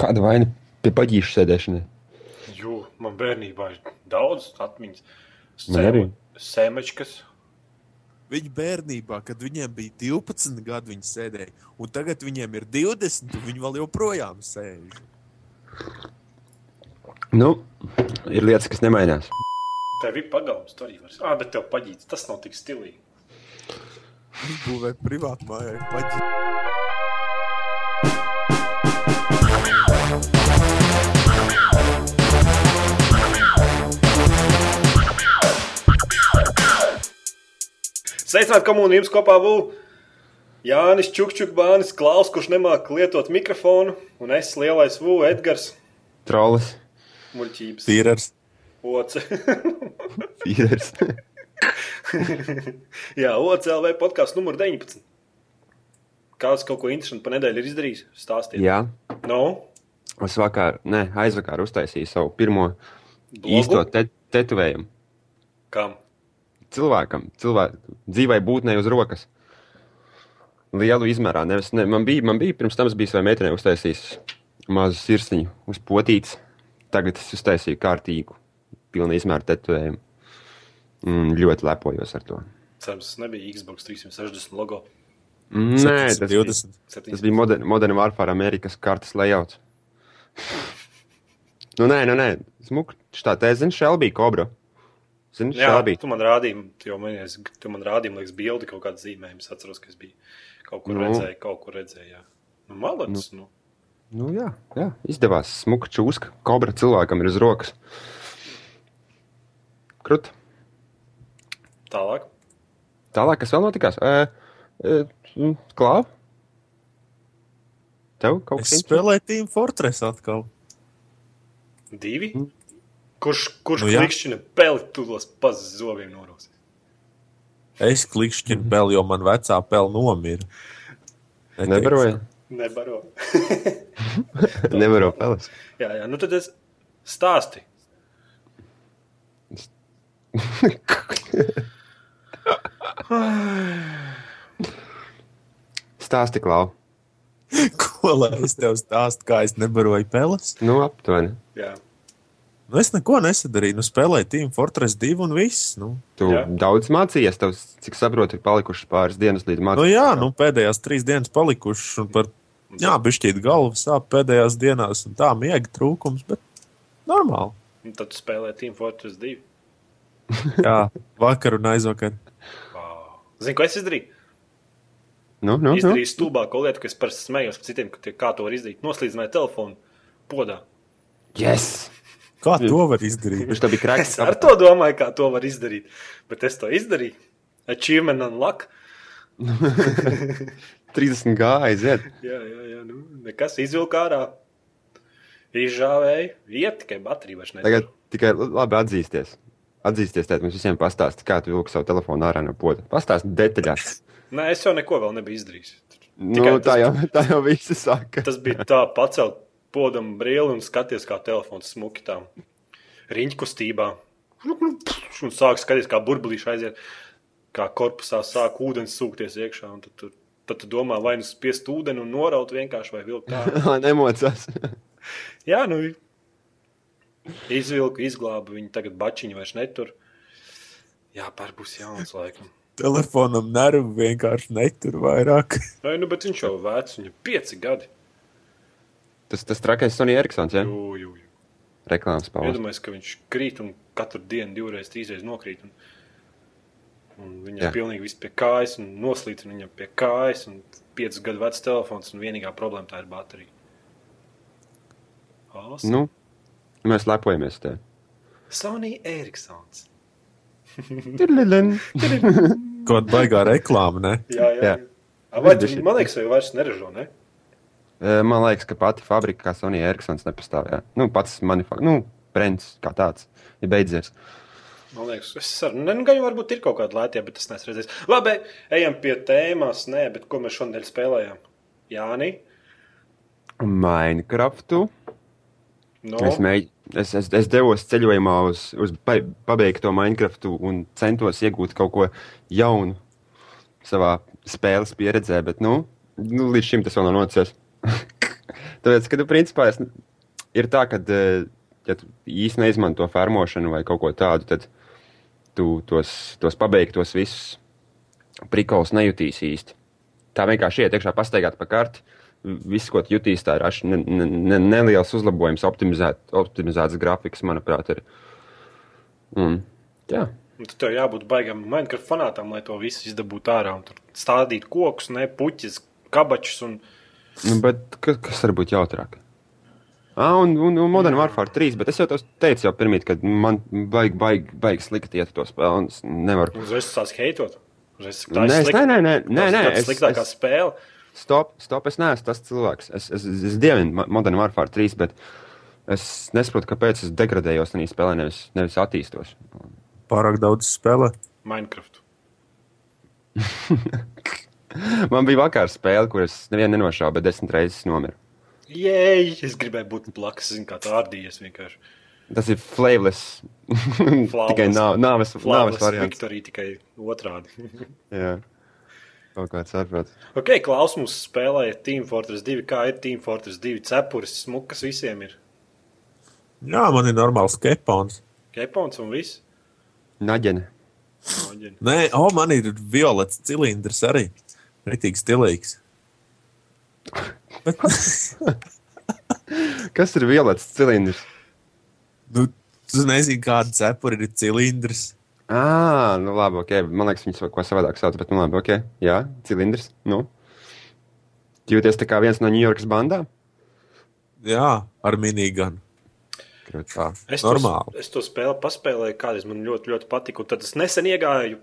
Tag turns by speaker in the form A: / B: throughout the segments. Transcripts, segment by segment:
A: Kāda vaina pie baģīšu sēdēšanai?
B: Jo man bērnībā ir daudz atmiņas.
A: Man Nu, arī.
B: Sēmečkas.
C: Viņa bērnībā, kad viņiem bija 12 gadi, viņi sēdēja, un tagad viņiem ir 20, un viņi vēl joprojām sēž.
A: Nu, ir lietas, kas nemainās.
B: Tev ir pagalms, tu arī vari. Ah, bet tev paģīts, tas nav tik stilīgi.
C: Viņi būvē privātu māju, paģi.
B: Sveicināti komūnu, jums kopā būs Jānis Čukčuk, Bānis Klaus, kurš nemāk lietot mikrofonu, un es lielais Vū, Edgars
A: Trolis,
B: Muļķības.
C: Tīrers.
B: Oce.
A: tīrs.
B: Jā, OCLV podkāsts numur 19. Kāds kaut ko interesantu par nedēļu ir izdarījis? Stāstiet. Nu,
A: Jā,
B: No?
A: es vakar, ne, aizvakar uztaisīju savu pirmo
B: Blogu?
A: īsto te tetovējumu.
B: Kam?
A: Cilvēkam, cilvēkam, dzīvai būtnei uz rokas. Lielu izmērā. Nevis, ne, man, bija, man bija pirms tam es biju savai meitenei uztaisījis mazu sirsniņu uz potītes. Tagad es uztaisīju kārtīgu, pilnu izmēru tetovējumu. Un ļoti lepojos ar to.
B: Cerams, tas nebija Xbox 360 logo.
A: Nē, tas bija-
C: 20.
A: Tas bija modern, modern Warfare, Amerikas kartes lejauts. nu, nē, nu, nē, smuka. Tā te zina, Shelby, Cobra. Zini,
B: Jā,
A: Shelby.
B: tu man rādīji, jau minējies, tu man rādīji, man liekas, bildi kaut kāda zīmējuma. Es atceros, ka es biju kaut kur
A: Nu.
B: nu. redzēju, kaut kur redzēju. jā. Nu, malacis, nu. nu.
A: Nu, jā, jā, izdevās. Smuka čūska. Cobra cilvēkam ir uz rokas. Krut.
B: Tālāk.
A: Tālāk, kas vēl notikās? E, e, mm, Klau? Tev kaut
C: Es
A: kas tāds?
C: spēlēju Team Fortress atkal.
B: Divi.
A: Mm.
B: Kurš, kurš
C: Nu,
B: nu,
C: jā.
B: klikšķina peli tulos pa zobiem norūs?
C: Es
A: Mhm.
C: klikšķinu vēl, jo man vecā pēle nomira.
A: Nevaroju.
B: Nebaro.
A: Nevaroju pelēt.
B: jā, jā, nu tad es stāsti.
A: Stāsti, Klau.
C: Ko lai es tev stāstu, kā es nebaroju peles?
A: Nu, aptuveni.
B: Jā.
C: Nu, es neko nesadarīju. Nu, spēlēju Team Fortress 2 un viss. Nu,
A: Tu jā.
B: Jā.
A: daudz mācījies, tev, cik saprotu, ir palikušas pāris dienas līdz
C: nu
A: mācībām.
C: jā, nu, pēdējās trīs dienas palikušas. un Par, jā, bišķīt galva sāp pēdējās dienās, un tā miega trūkums, bet normāli.
B: Un tad tu spēlē Team Fortress 2.
C: Jā, vakar un aizvakar.
B: Wow. Zini, ko es izdarīju?
A: nu, nu, nu.
B: Izdarīju stulbāko lietu, kas par smējos par citiem, ka tie- kā to var izdarīt. Noslīdzināju telefonu podā.
A: Yes!
C: Kā to var izdarīt?
A: Viņš tev bija krāšņs.
B: Es ar to domāju, kā to var izdarīt. Bet es to izdarīju. Achievement and luck.
A: 30 gāja aiziet.
B: Jā, jā, jā. Nu, nekas izvilka ārā. Izžāvēja. Iet tikai baterija vairs nedara.
A: Tagad tikai l- labi atzīsties. Atzīsties, tēt, mums visiem pastāsti, kā tu vilki savu telefonu ārā no poda. Pastāsti detaļās.
B: Nē, es jau neko vēl nebiju izdarījis.
A: Nu,
B: Tikai
A: tā,
B: tas-
A: jau, tā jau visi saka.
B: Tas bija tā, pacelt podam brīli un skaties, kā telefons smuki tā riņķkustībā. Un sāk skatīties, kā burbuļsaktas aiziet, kā korpusā sāk ūdens sūkties iekšā. un Tad tu, tad tu domā, vai nu spiest ūdeni un noraut vienkārši vai vilkt tā.
A: Lai nemocās.
B: Jā, nu, izvilku, izglābu viņu, tagad bačiņu vairs netur. Jā, pār būs jauns laikam.
C: Telefonam nervu vienkārši netur vairāk.
B: Nē, nu, bet viņš jau vecs, viņam ir pieci gadi.
A: Tas, tas trakais Sonija Eriksons, ja?
B: Jū, jū, jū.
A: Reklāmas pauze.
B: Iedomājieties, ka viņš krīt un katru dienu divreiz, trīsreiz nokrīt. Un, un viņam
A: Jā.
B: ir pilnīgi viss pie kājas, un noslīd viņam pie kājas, un piecus gadu vecs telefons, un vienīgā problēma tā ir baterija. Awesome.
A: Nu, mēs lepojamies te.
B: Sonija Eriksons.
A: Tirililin.
C: Kaut baigā reklāma, ne?
B: Jā, jā. jā.
A: Jā.
B: jā. Vai, tu,
A: Bišķi.
B: man liekas, vai vairs neražo, ne?
A: E, Man liekas, ka pati fabrika, kā Sonija Eriksons, nepastāvēja. Nu, pats manufakts, nu, brands kā tāds ir beidzies.
B: Man liekas, es ar viņu gāju, varbūt ir kaut kāda lētie, bet es neesmu redzējis. Labi, ejam pie tēmas, nē, bet ko mēs šodien spēlējām? Jāni,
A: Minecraftu.
B: no
A: Es, mēģ... es, es, es devos ceļojumā uz, uz pa, pabeigto Minecraftu un centos iegūt kaut ko jaunu savā spēles pieredzē, bet nu, nu, līdz šim tas vēl nav noticis. Tāpēc, ka, nu, principā, es, ir tā, ka, eh, ja tu īsti neizmanto fermošanu vai kaut ko tādu, tad tu tos, tos pabeigtos visus prikals nejutīsi īsti. Tā vienkārši iet iekšā, pastaigāt pa karti. Viss, ko tu jutīsi, tā ir aši, ne, ne, ne, neliels uzlabojums, optimizēt, optimizēts grafiks, manuprāt, ir. Un, jā,
B: Un Tad tev jābūt baigam Minecraft fanātam, lai to visu izdabūtu ārā. Un Tur stādīt kokus, ne puķis, kabačus un
A: nu, bet kas, kas var būt jautrāk? Ah, un, un, un Modern Warfare 3, bet es jau tev teicu, jau pirmīt, ka man baigi, baigi, baigi slikti iet uz to spēli, un es nevaru
B: uzreiz sāc heitot. Uzreiz saka,
A: Nē,
B: ir
A: es-
B: slikta-
A: nē, nē, nē, nē,
B: tā
A: nē,
B: ir
A: es-
B: sliktākā
A: es-
B: spēle.
A: Stop, stop, es neesmu tas cilvēks. Es, es, es dievinu Mo- Modern Warfare 3, bet es nesaprotu, kāpēc es degradējos tajā spēlē, nevis, nevis attīstos.
C: Pārāk daudz spēlē.
B: Minecraft.
A: Man bija vakar spēle, kuras nevienu nenošāva, bet desmit reizes nomiru.
B: Jei, es gribēju būt blakus, zinu, kā tā ārdījies vienkārši.
A: Tas ir flavors. Tikai nā- nāves, nāves
B: Flāvis
A: variants.
B: Viktorija tikai otrādi.
A: Jā, kaut kāds saprot.
B: ok, Klaus mums spēlēja Team Fortress 2, kā ir Team Fortress 2 cepures, smukas visiem ir.
C: Jā, man ir normāls kepons.
B: Kepons un viss.
A: Naģene.
B: Noģeni.
C: Nē, o, man ir violets cilindrs arī. Ritīgs stilīgs. Bet,
A: Kas ir violets cilindrs?
C: nu, tu nezini, kāda cepura ir cilindrs.
A: Ā, nu labi, ok. Man liekas, viņas kaut ko savādāk sauc, bet nu labi, ok. Jā, cilindrs. Nu. Jūties tā kā viens no Ņujorkas bandām?
C: Jā, ar miniganu.
A: Krūts.
C: Tā,
B: Es to,
C: normāli.
B: es to spēli paspēlēju, kādreiz man ļoti, ļoti patika. un Tad es nesen iegāju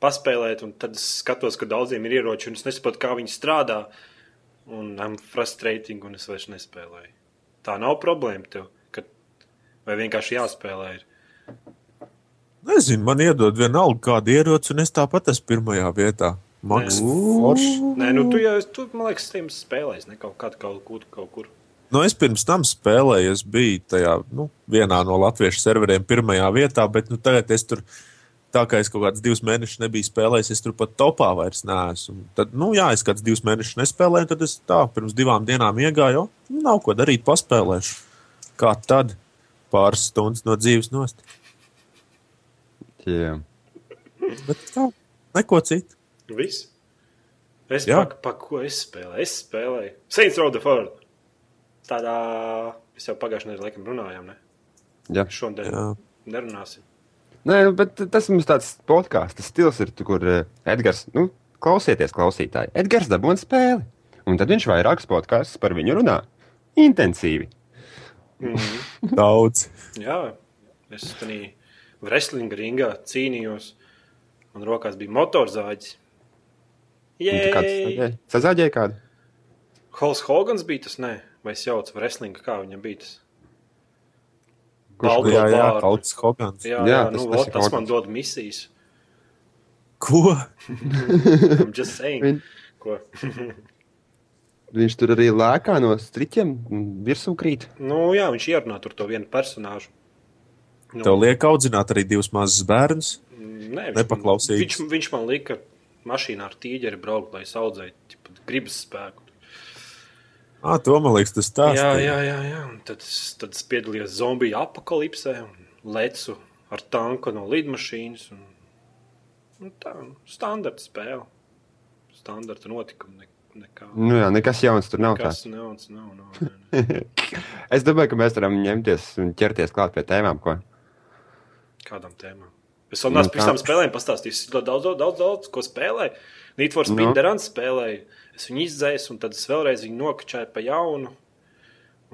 B: paspēlēt, un tad es skatos, ka daudziem ir ieroči, un es nesaprotu, kā viņi strādā. Un man frustrating, un es vairs nespēlēju. Tā nav problēma tev, ka vai vienkārši jāspēlē. Ir.
C: Nezinu, man iedod vienalga kādu ieroci, un es tāpat esmu pirmajā vietā. Maks, forši.
B: Nē, nu tu jau, tu, man liekas, tiem spēlēs ne kaut kādu kaut kur. Kaut kur.
C: Nu, es pirms tam spēlēju, es biju tajā nu, vienā no latviešu serveriem, pirmajā vietā, bet nu, tagad es tur, tā kā es kaut kādus divus mēnešus nebiju spēlējis, es tur pat topā vairs neesmu. Tad, nu, jā, es kādus divus mēnešus nespēlēju, tad es tā pirms divām dienām iegāju, "O, nu, nav ko darīt, paspēlēšu. Kā tad? Pāris stundas no dzīves nost.
A: Jā.
C: Bet tā, neko citu.
B: Nu, Viss. Es
C: Jā.
B: paku, pa, ko es spēlēju? Es spēlēju Saints Row the Ford. Tādā, mēs jau pagājušajā nedēļā laikam runājām, ne?
A: Jā.
B: Šodien.
C: Jā.
B: Nerunāsim.
A: Nē, nu, bet tas mums tāds podkāsts stils ir, tu, kur eh, Edgars, nu, klausieties, klausītāji. Edgars dabūna spēli. Un tad viņš vairākas podkāstus par viņu runā. Intensīvi.
C: Daudz.
B: Jā, es tam wrestling ringā cīnījos. Man rokās bija motorzāģis.
A: Un tu kāds
B: Jā,
A: sazaģēji? sazaģēji kādu?
B: Hols Hogans bija tas, ne? vai es jaucu wrestlinga, kā viņam bija tas?
A: Kurš
B: Balto
C: Jā, jā,
B: bārdu.
C: kaut kas hogans.
B: Jā, jā,
A: Jā,
B: tas,
A: tas- tas
B: nu, tas,
A: ir
B: tas
A: Hogans.
B: man dod misijas.
C: Ko?
B: I'm just saying.
A: Viņ-
B: Ko?
A: Viņš tur arī lēkā no striķiem un virsū krīt.
B: Nu, jā, viņš ierunā tur to vienu personāžu. Nu,
C: Tev liek audzināt arī divus mazus bērnus.
B: Mm, nē, viņš
C: nepaklausīgs.
B: Man, viņš, viņš man lika mašīnā ar tīģeri braukt, lai es audzēju tipa, gribas spēku.
C: Ah, to man liekas, tas tāds.
B: Jā, jā, jā, jā. Un Tad, es- tad es piedalījos zombiju apakalipsē un lecu ar tanku no lidmašīnas. Un, un tā ir standarta spēle. Standarta notikuma. Ne, nekā.
A: Nu, jā, nekas jauns tur nav. Tāds.
B: Kas naudas nav? nav nē, nē.
A: Es domāju, ka mēs varam ņemties un ķerties klāt pie tēmām, ko
B: Kādām tēmām? Es vēl neesmu
A: Nu,
B: pirms
A: tā.
B: tam spēlēm pastāstījis. Es ļoti daudz, daudz, daudz, daudz ko spēlēju. Nītfors
A: Nu.
B: Pinderans spēlēju. Es viņu izdzēsu, un tad es vēlreiz viņu nokačāju pa jaunu.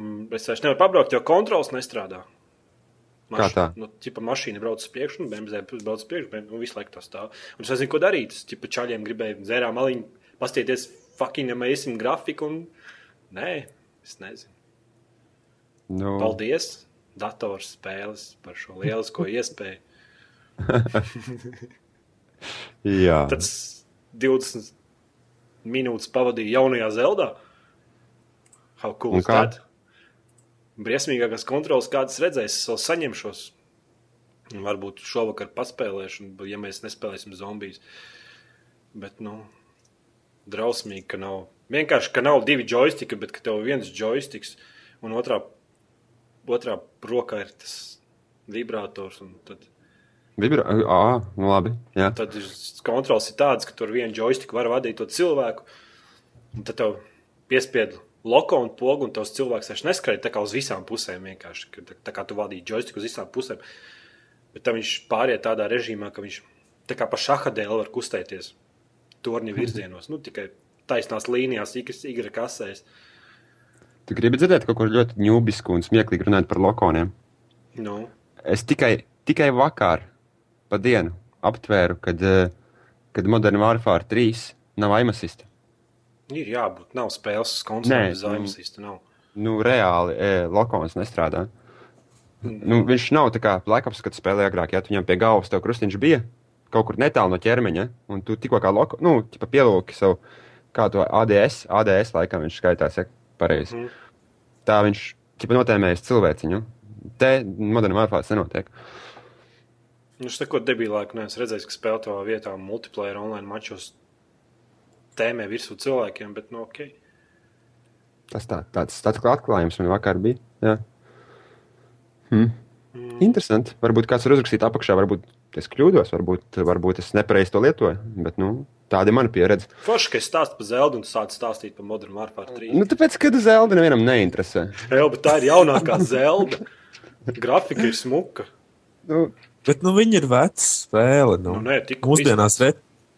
B: Un es vairs nevaru pabraukt, jo kontrols nestrādā.
A: Kā tā?
B: Nu, tipa mašīna brauc uz priekšu, un BMW brauc uz priekšu, un visu laiku tas tā. Un es nezinu, ko darīt. Es tipa čaļiem gribēju dzērā maliņu, pastieties, fucking, ja mēs esam grafiku, un nē, es nezinu.
A: nu,
B: Paldies, datorspēles, par šo lielisko iespēju.
A: jā.
B: Tad es 20 minūtes pavadīju jaunajā Zeldā. How cool
A: Un
B: is
A: kā?
B: that? Briesmīgākās kontrolas, kādas redzēs, es vēl saņemšos. Un Varbūt šovakar paspēlēšu, un, ja mēs nespēlēsim zombijas. Bet, nu, drausmīgi, ka nav. Vienkārši, ka nav divi joystiki, bet ka tev ir viens joystiks un otrā, otrā rokā ir tas vibrators. un Tad,
A: Vibra... Ā, nu labi. Jā.
B: tad ir kontrols ir tāds, ka tur ar vienu joystiku var vadīt to cilvēku. Un tad tev piespiedu loko un pogu, un tos cilvēks vairs neskrēja tā kā uz visām pusēm. vienkārši, ka Tā, tā kā tu vadīji joystiku uz visām pusēm. Bet tad viņš pāriet tādā režīmā, ka viņš tā kā pa šaha dēļ var kustēties torņa virzienos. Nu, tikai taisnās līnijās, īkras kasēs.
A: Tu gribi dzirdēt kaut ko ļoti ņūbisku un smieklīgu runājot par lokoniem.
B: Nu,
A: Es tikai, tikai vakar, pa dienu, aptvēru, kad, eh, kad Modern Warfare 3 nav aimasista.
B: ir jābūt. Nav spēles, kas
A: Nē,
B: koncentrējas uz
A: nu-
B: zemes īstenībā.
A: Nu, reāli e, lokons nestrādā. Nu, viņš nav tā kā plakāts, kad spēlēja agrāk. Ja tu viņam pie galvas tev krustiņš bija kaut kur netālu no ķermeņa, un tu tikko kā loko, nu, ķipa pielūki savu, kā to ADS, ADS laikam viņš skaitās, ja pareizi.
B: Mhm.
A: Tā viņš ķipa notēmējas cilvēciņu. Te Modern Warfare tas nenotiek.
B: Viņš tā kā debilēku neesmu redzējis, ka spēlē tavā vietā multiplayer online mačos tēmē virsū cilvēkiem, bet nu ok.
A: Tas tā, tāds, tāds kā atklājums man vakar bija. Jā. Hmm. Interesanti. Varbūt kāds ir uzrakstījis apakšā, varbūt es kļūdos, varbūt, varbūt es nepareizi to lietoju. Bet nu, tāda ir mana pieredze.
B: Forši, ka es stāstu par Zeldu un tu sāc stāstīt par Modern Warfare 3.
A: Nu, tāpēc, kad zelta nevienam neinteresē.
B: Jā, bet tā ir jaunākā Zelda. Grafika ir smuka.
A: Nu,
C: Bet nu, viņi ir veci spēle. Nu.
B: Nu, nē, tikko
C: Mūsdienās re...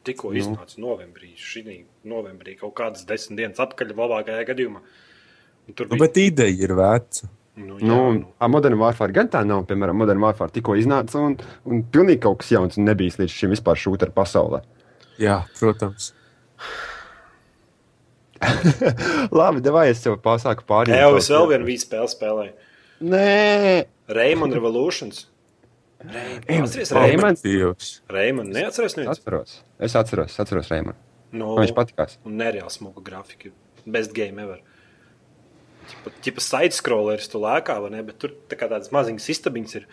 B: Tikko iznāca novembrī, šī novembrī kaut kādas desmit dienas atpakaļ, labākajā gadījumā. Un Tur
C: nu,
B: bija
C: bet ideja ir veca.
B: nu, jā,
A: nu, ar Modern Warfare gan tā nav. Piemēram, Modern Warfare tikko iznāca un, un pilnīgi kaut kas jauns un nebijis līdz šim vispār šūta pasaulē.
C: Jā, protams.
A: Labi, devai es tev pasāku pārējiem.
B: Jā, es vēl vienu spēli spēlēju.
A: Nē,
B: Raymond Revolutions. Atceries, Raymond?
A: Reimans.
C: Romantīvs.
B: Raymond, neatceries
A: Es
B: neviens?
A: atceros, es atceros, es atceros Reimanu.
B: Nu,
A: Man viņš patīkās.
B: Un nereāli smuka grafika. Best game ever. Tipā sidescrolleris tu lēkā, vai ne? Bet tur tā kā tādas maziņas istabiņas ir.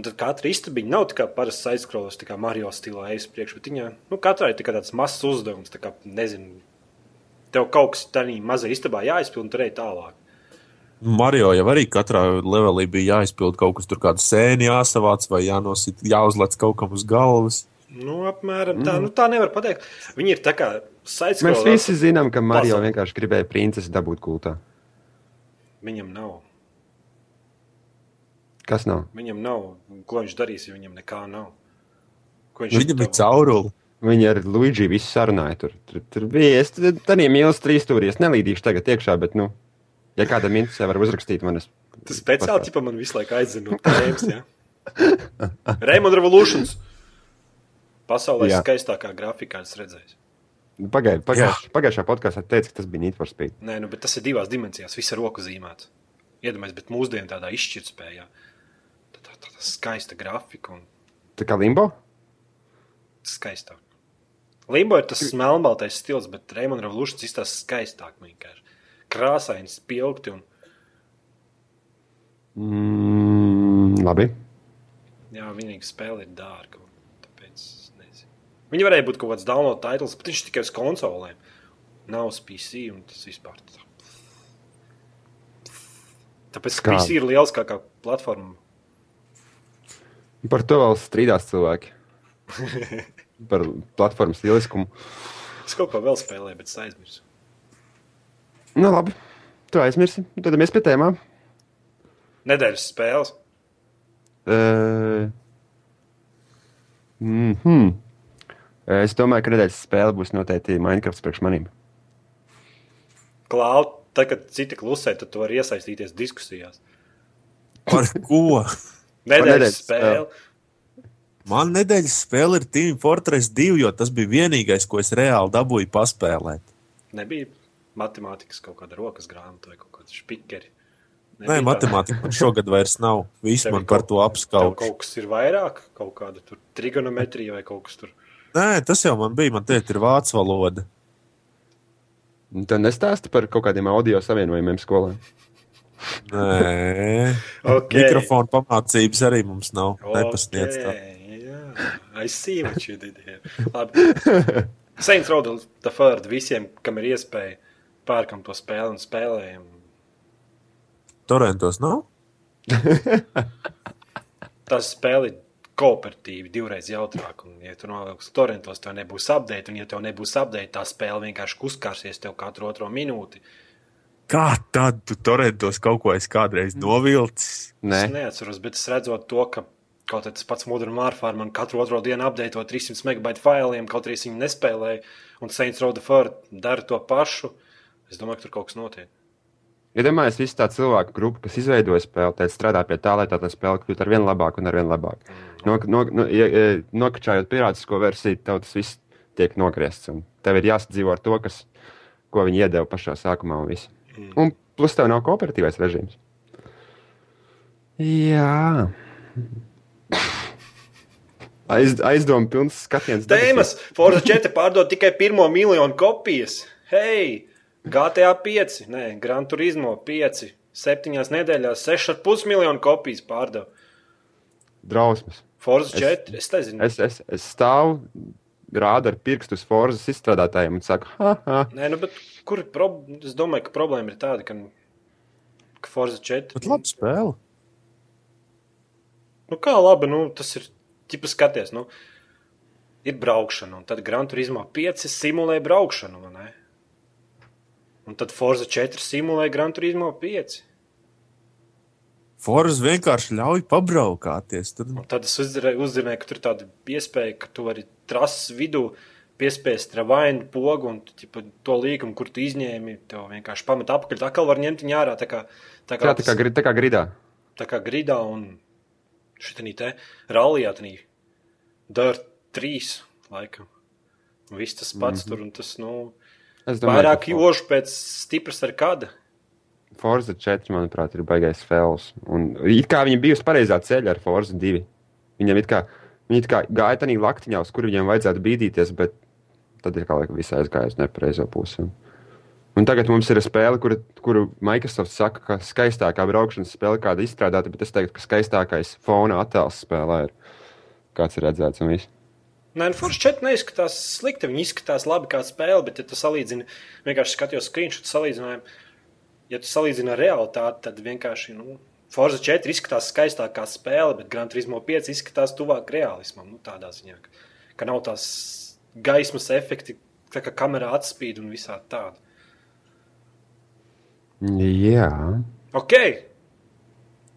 B: Un tad katra istabiņa nav tā kā parasts sidescrolleris, tā kā Mario stilā ejas priekšā. Bet viņā, nu, katrai tā kā tāds mazs uzdevums, tā kā, nezinu, tev kaut kas tādā mazā istabā jāizpild un tur ej tālāk.
C: Mario jau arī katrā līmenī bija jāizpild kaut kas, tur kāda sēne jāsavāc vai jānosit, jāuzliek kaut kam uz galvas.
B: Nu, apmēram tā. Mm. Nu, tā nevar pateikt. Viņi ir tā kā
A: Mēs
B: sidescrolleris.
A: visi zinām, ka Mario
B: Pasaule.
A: vienkārši gribēja princesi dabūt gultā.
B: Viņam nav.
A: Kas nav?
B: Viņam nav. Ko viņš darīs, ja viņam nekā nav? Ko viņš
C: Viņam bija
B: tev-
C: caurule.
A: Viņi ar Luigi visu sarunāja. Tur, tur, tur bija es arī mīlestības trīs stūrī. Es nelīdīšu tagad iekšā, bet, nu, ja kādam interesē, var uzrakstīt manis.
B: Tas speciāli tipā man visu laiku aizina no tēmas. Ja? Raymond Revolutions. Pasaulē
A: Jā.
B: jā. skaistākā grafikā es redzēju.
A: Pagaidu, pagaidu, pagājušā podkāstā teica, ka tas bija Need for Speed.
B: Nē, nu, bet tas ir divās dimensijās. Visa roka zīmēta. Iedomājieties, bet mūsdienu tādā izšķirtspējā. Tā, tā, tā, tā skaista grafika un
A: Tā kā limbo?
B: skaistāk. Limbo ir tas melnbaltais stils, bet Raymond Revolutions izstāsta skaistāk vienkārši. Krāsains, spilgti un
A: Mm, labi.
B: Jā, vienīgi spēle ir dārga. un Tāpēc es nezinu. Viņi varēja būt kaut kāds download titles, bet viņš tikai uz konsolēm. Nav uz PC un tas vispār. Tā.
A: Kā?
B: Tāpēc Skār. PC ir lielākā platforma.
A: Par to vēl strīdās cilvēki. Par platformas lieliskumu.
B: Es kaut ko vēl spēlēju, bet es aizmirsu.
A: Nu, labi. Tu aizmirsi. Tad mēs pie tēmām.
B: Nedēļas spēles.
A: Uh, mm -hmm. Es domāju, ka nedēļas spēle būs noteikti Minecraft priekš maniem.
B: Klāta, tad, kad citi klusē, tad tu vari iesaistīties diskusijās.
C: Par ko?
A: nedēļas
B: Nedēļas spēle.
C: Man nedēļas spēle ir Team Fortress 2, jo tas bija vienīgais, ko es reāli dabūju paspēlēt.
B: Nebija matemātikas kaut kāda rokas grāmata vai kaut kāda spīķeri.
C: Nē, matemātikā man šogad vairs nav. Viss man par to
B: Kaut,
C: apskauž.
B: kaut kas ir vairāk, kaut kāda tur trigonometrija vai kaut kas tur.
C: Nē, tas jau man bija. Man te ir vācu valoda.
A: Tad nestāsti par kaut kādiem audio savienojumiem skolā.
C: Nē,
B: Okay.
C: mikrofona pamācības arī mums nav. Nepasniedz tā.
B: Okay, jā, I see what you did here. Labi. Saints Rodas, The Third, visiem, kam ir iespēja, pērkam to spēli un spēlējam.
C: Torentos nav.
B: Tas spēle ir kooperatīva, divreiz jautrāk. Un, ja tu novilksi torentos, tev nebūs update, un, ja tev nebūs update, tā spēle vienkārši kuskārsies tev katru otro minūti.
C: Kā tad tu torentos kaut ko es kādreiz novilcis?
B: Nē.
A: Nē,
B: Es neatceros, bet es redzot to, ka kaut kāds pats Modern Warfare man katru otro dienu apdeito 300 megabaitu failiem, kaut arī es viņu nespēlēju, un Saints Row the Fur dara to pašu. Es domāju, ka tur kaut kas notiek.
A: iedomājieties, ja visa tā cilvēku grupa, kas izveidoja spēli, tad strādā pie tā, lai tā tā spēle kļūtu ar vien labāku un ar vien labāku. Nok, nok, no, ja, ja, nokačājot pirātisko versiju, tev tas viss tiek nogriezts. un Tev ir jāsadzīvo ar to, kas, ko viņi iedeva pašā sākumā. Un, viss. un plus tev nav kooperatīvais režīms. Jā. Aiz, aizdomu pilns skatiens.
B: Tēmas Forza 4 pārdod tikai pirmo miljonu kopijas. Hei, GTA 5, nē, Gran Turismo 5, 7 nedēļās 6,5 miljonu kopijas pārdod.
A: Drausmas.
B: Forza 4, es, es nezinu. Es...
A: Es, es, es stāvu, rādu ar pirkstu uz forzas izstrādātājiem un saku, ha, ha.
B: Nē, nu, bet kur ir problēma? Es domāju, ka problēma ir tāda, ka, ka Forza 4.
C: Bet labi spēle.
B: Nu, kā labi, nu, tas ir tipa skaties. Nu, ir braukšana, un tad Gran Turismo 5 simulē braukšanu. vai ne? Un tad Forza 4 simulē Gran Turismo 5.
C: Forza vienkārši ļauj pabraukāties. Tad
B: Un tad es uzzira- uzzināju, ka tur ir tāda iespēja, ka tu vari trases vidū piespiest ravainu pogu un tu, tipa, to līkumu, kur tu izņēmi, tev vienkārši pamet apakaļ. Tā kā var ņemt viņu ārā, tā kā, tā kā,
A: Jā, tā kā, gri- tā kā gridā.
B: tā kā gridā un šitanī te rallijā, tanī Dirt 3 laikam. Un Viss tas pats mm -hmm. tur un tas, nu,
A: Es domāju,
B: vairāk
A: ka
B: jošu pēc stipras ar kāda.
A: Forza 4, manuprāt, ir baigais fails. Un it kā viņi bija uz pareizā ceļa ar Forza 2. Viņam it kā, viņi it kā gāja tādā laktiņā, uz kur viņiem vajadzētu bīdīties, bet tad ir kā laika visai aizgājis nepareizo pusi. Un, un tagad mums ir spēle, kuru, kuru Microsoft saka, ka skaistākā braukšanas spēle, kāda izstrādāta, bet es teiktu, ka skaistākais fona attēls spēlē ir kāds ir redzēts un viss.
B: Nē, nu, Forza 4 neizskatās slikti. Viņa izskatās labi kā spēle, bet, ja tu salīdzini, vienkārši skatījos screenshot salīdzinājumu, ja tu salīdzini ar realitāti, tad vienkārši, nu, Forza 4 izskatās skaistāk kā spēle, bet Gran Turismo 5 izskatās tuvāk realismam, nu, tādā ziņā, ka, ka nav tās gaismas efekti, tā kā kamerā atspīd un visā tāda.
A: Jā.
B: Ok,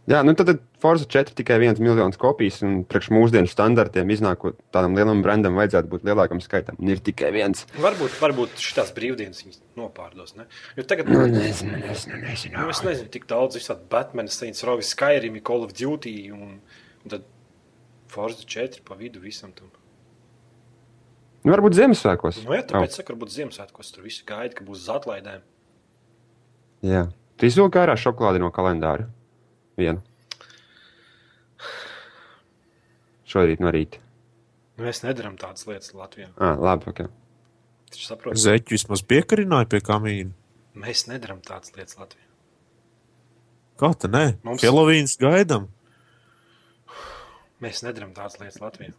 A: Jā, nu tad, tad Forza 4 tikai viens miljonus kopijas, un priekš mūsdienu standartiem iznākot tādam lielam brandam, vajadzētu būt lielākam skaitam. Un ir tikai viens.
B: varbūt, varbūt šitās brīvdienas viņas nopārdos, ne? Jo tagad,
A: Nu, nezinu, nezinu,
B: Nu,
A: nezinu.
B: es nezinu, tik daudz visādi Batmana, Saints Row, Skyrim, Call of Duty un, un tad Forza 4 pa vidu visam tam.
A: Nu, varbūt Ziemassvētkos.
B: Nu, jā, tāpēc, oh. varbūt Ziemassvētkos tur visi gaida, ka būs uz atlaidēm.
A: Oh, jā. Tu izvilki ārā šokolādi no kalendāra. Vienu. Šorīt no rīta.
B: Nu, mēs nedaram tādas lietas Latvijā.
A: Ah, labi, ok.
B: Taču saprot,
C: zeķis vismaz piekarināja pie kamīna.
B: mēs nedaram tādas lietas Latvijā.
C: Kā tā nē?
B: Mums-
C: Mums... Helovīns gaidām.
B: Mēs nedaram tādas lietas Latvijā.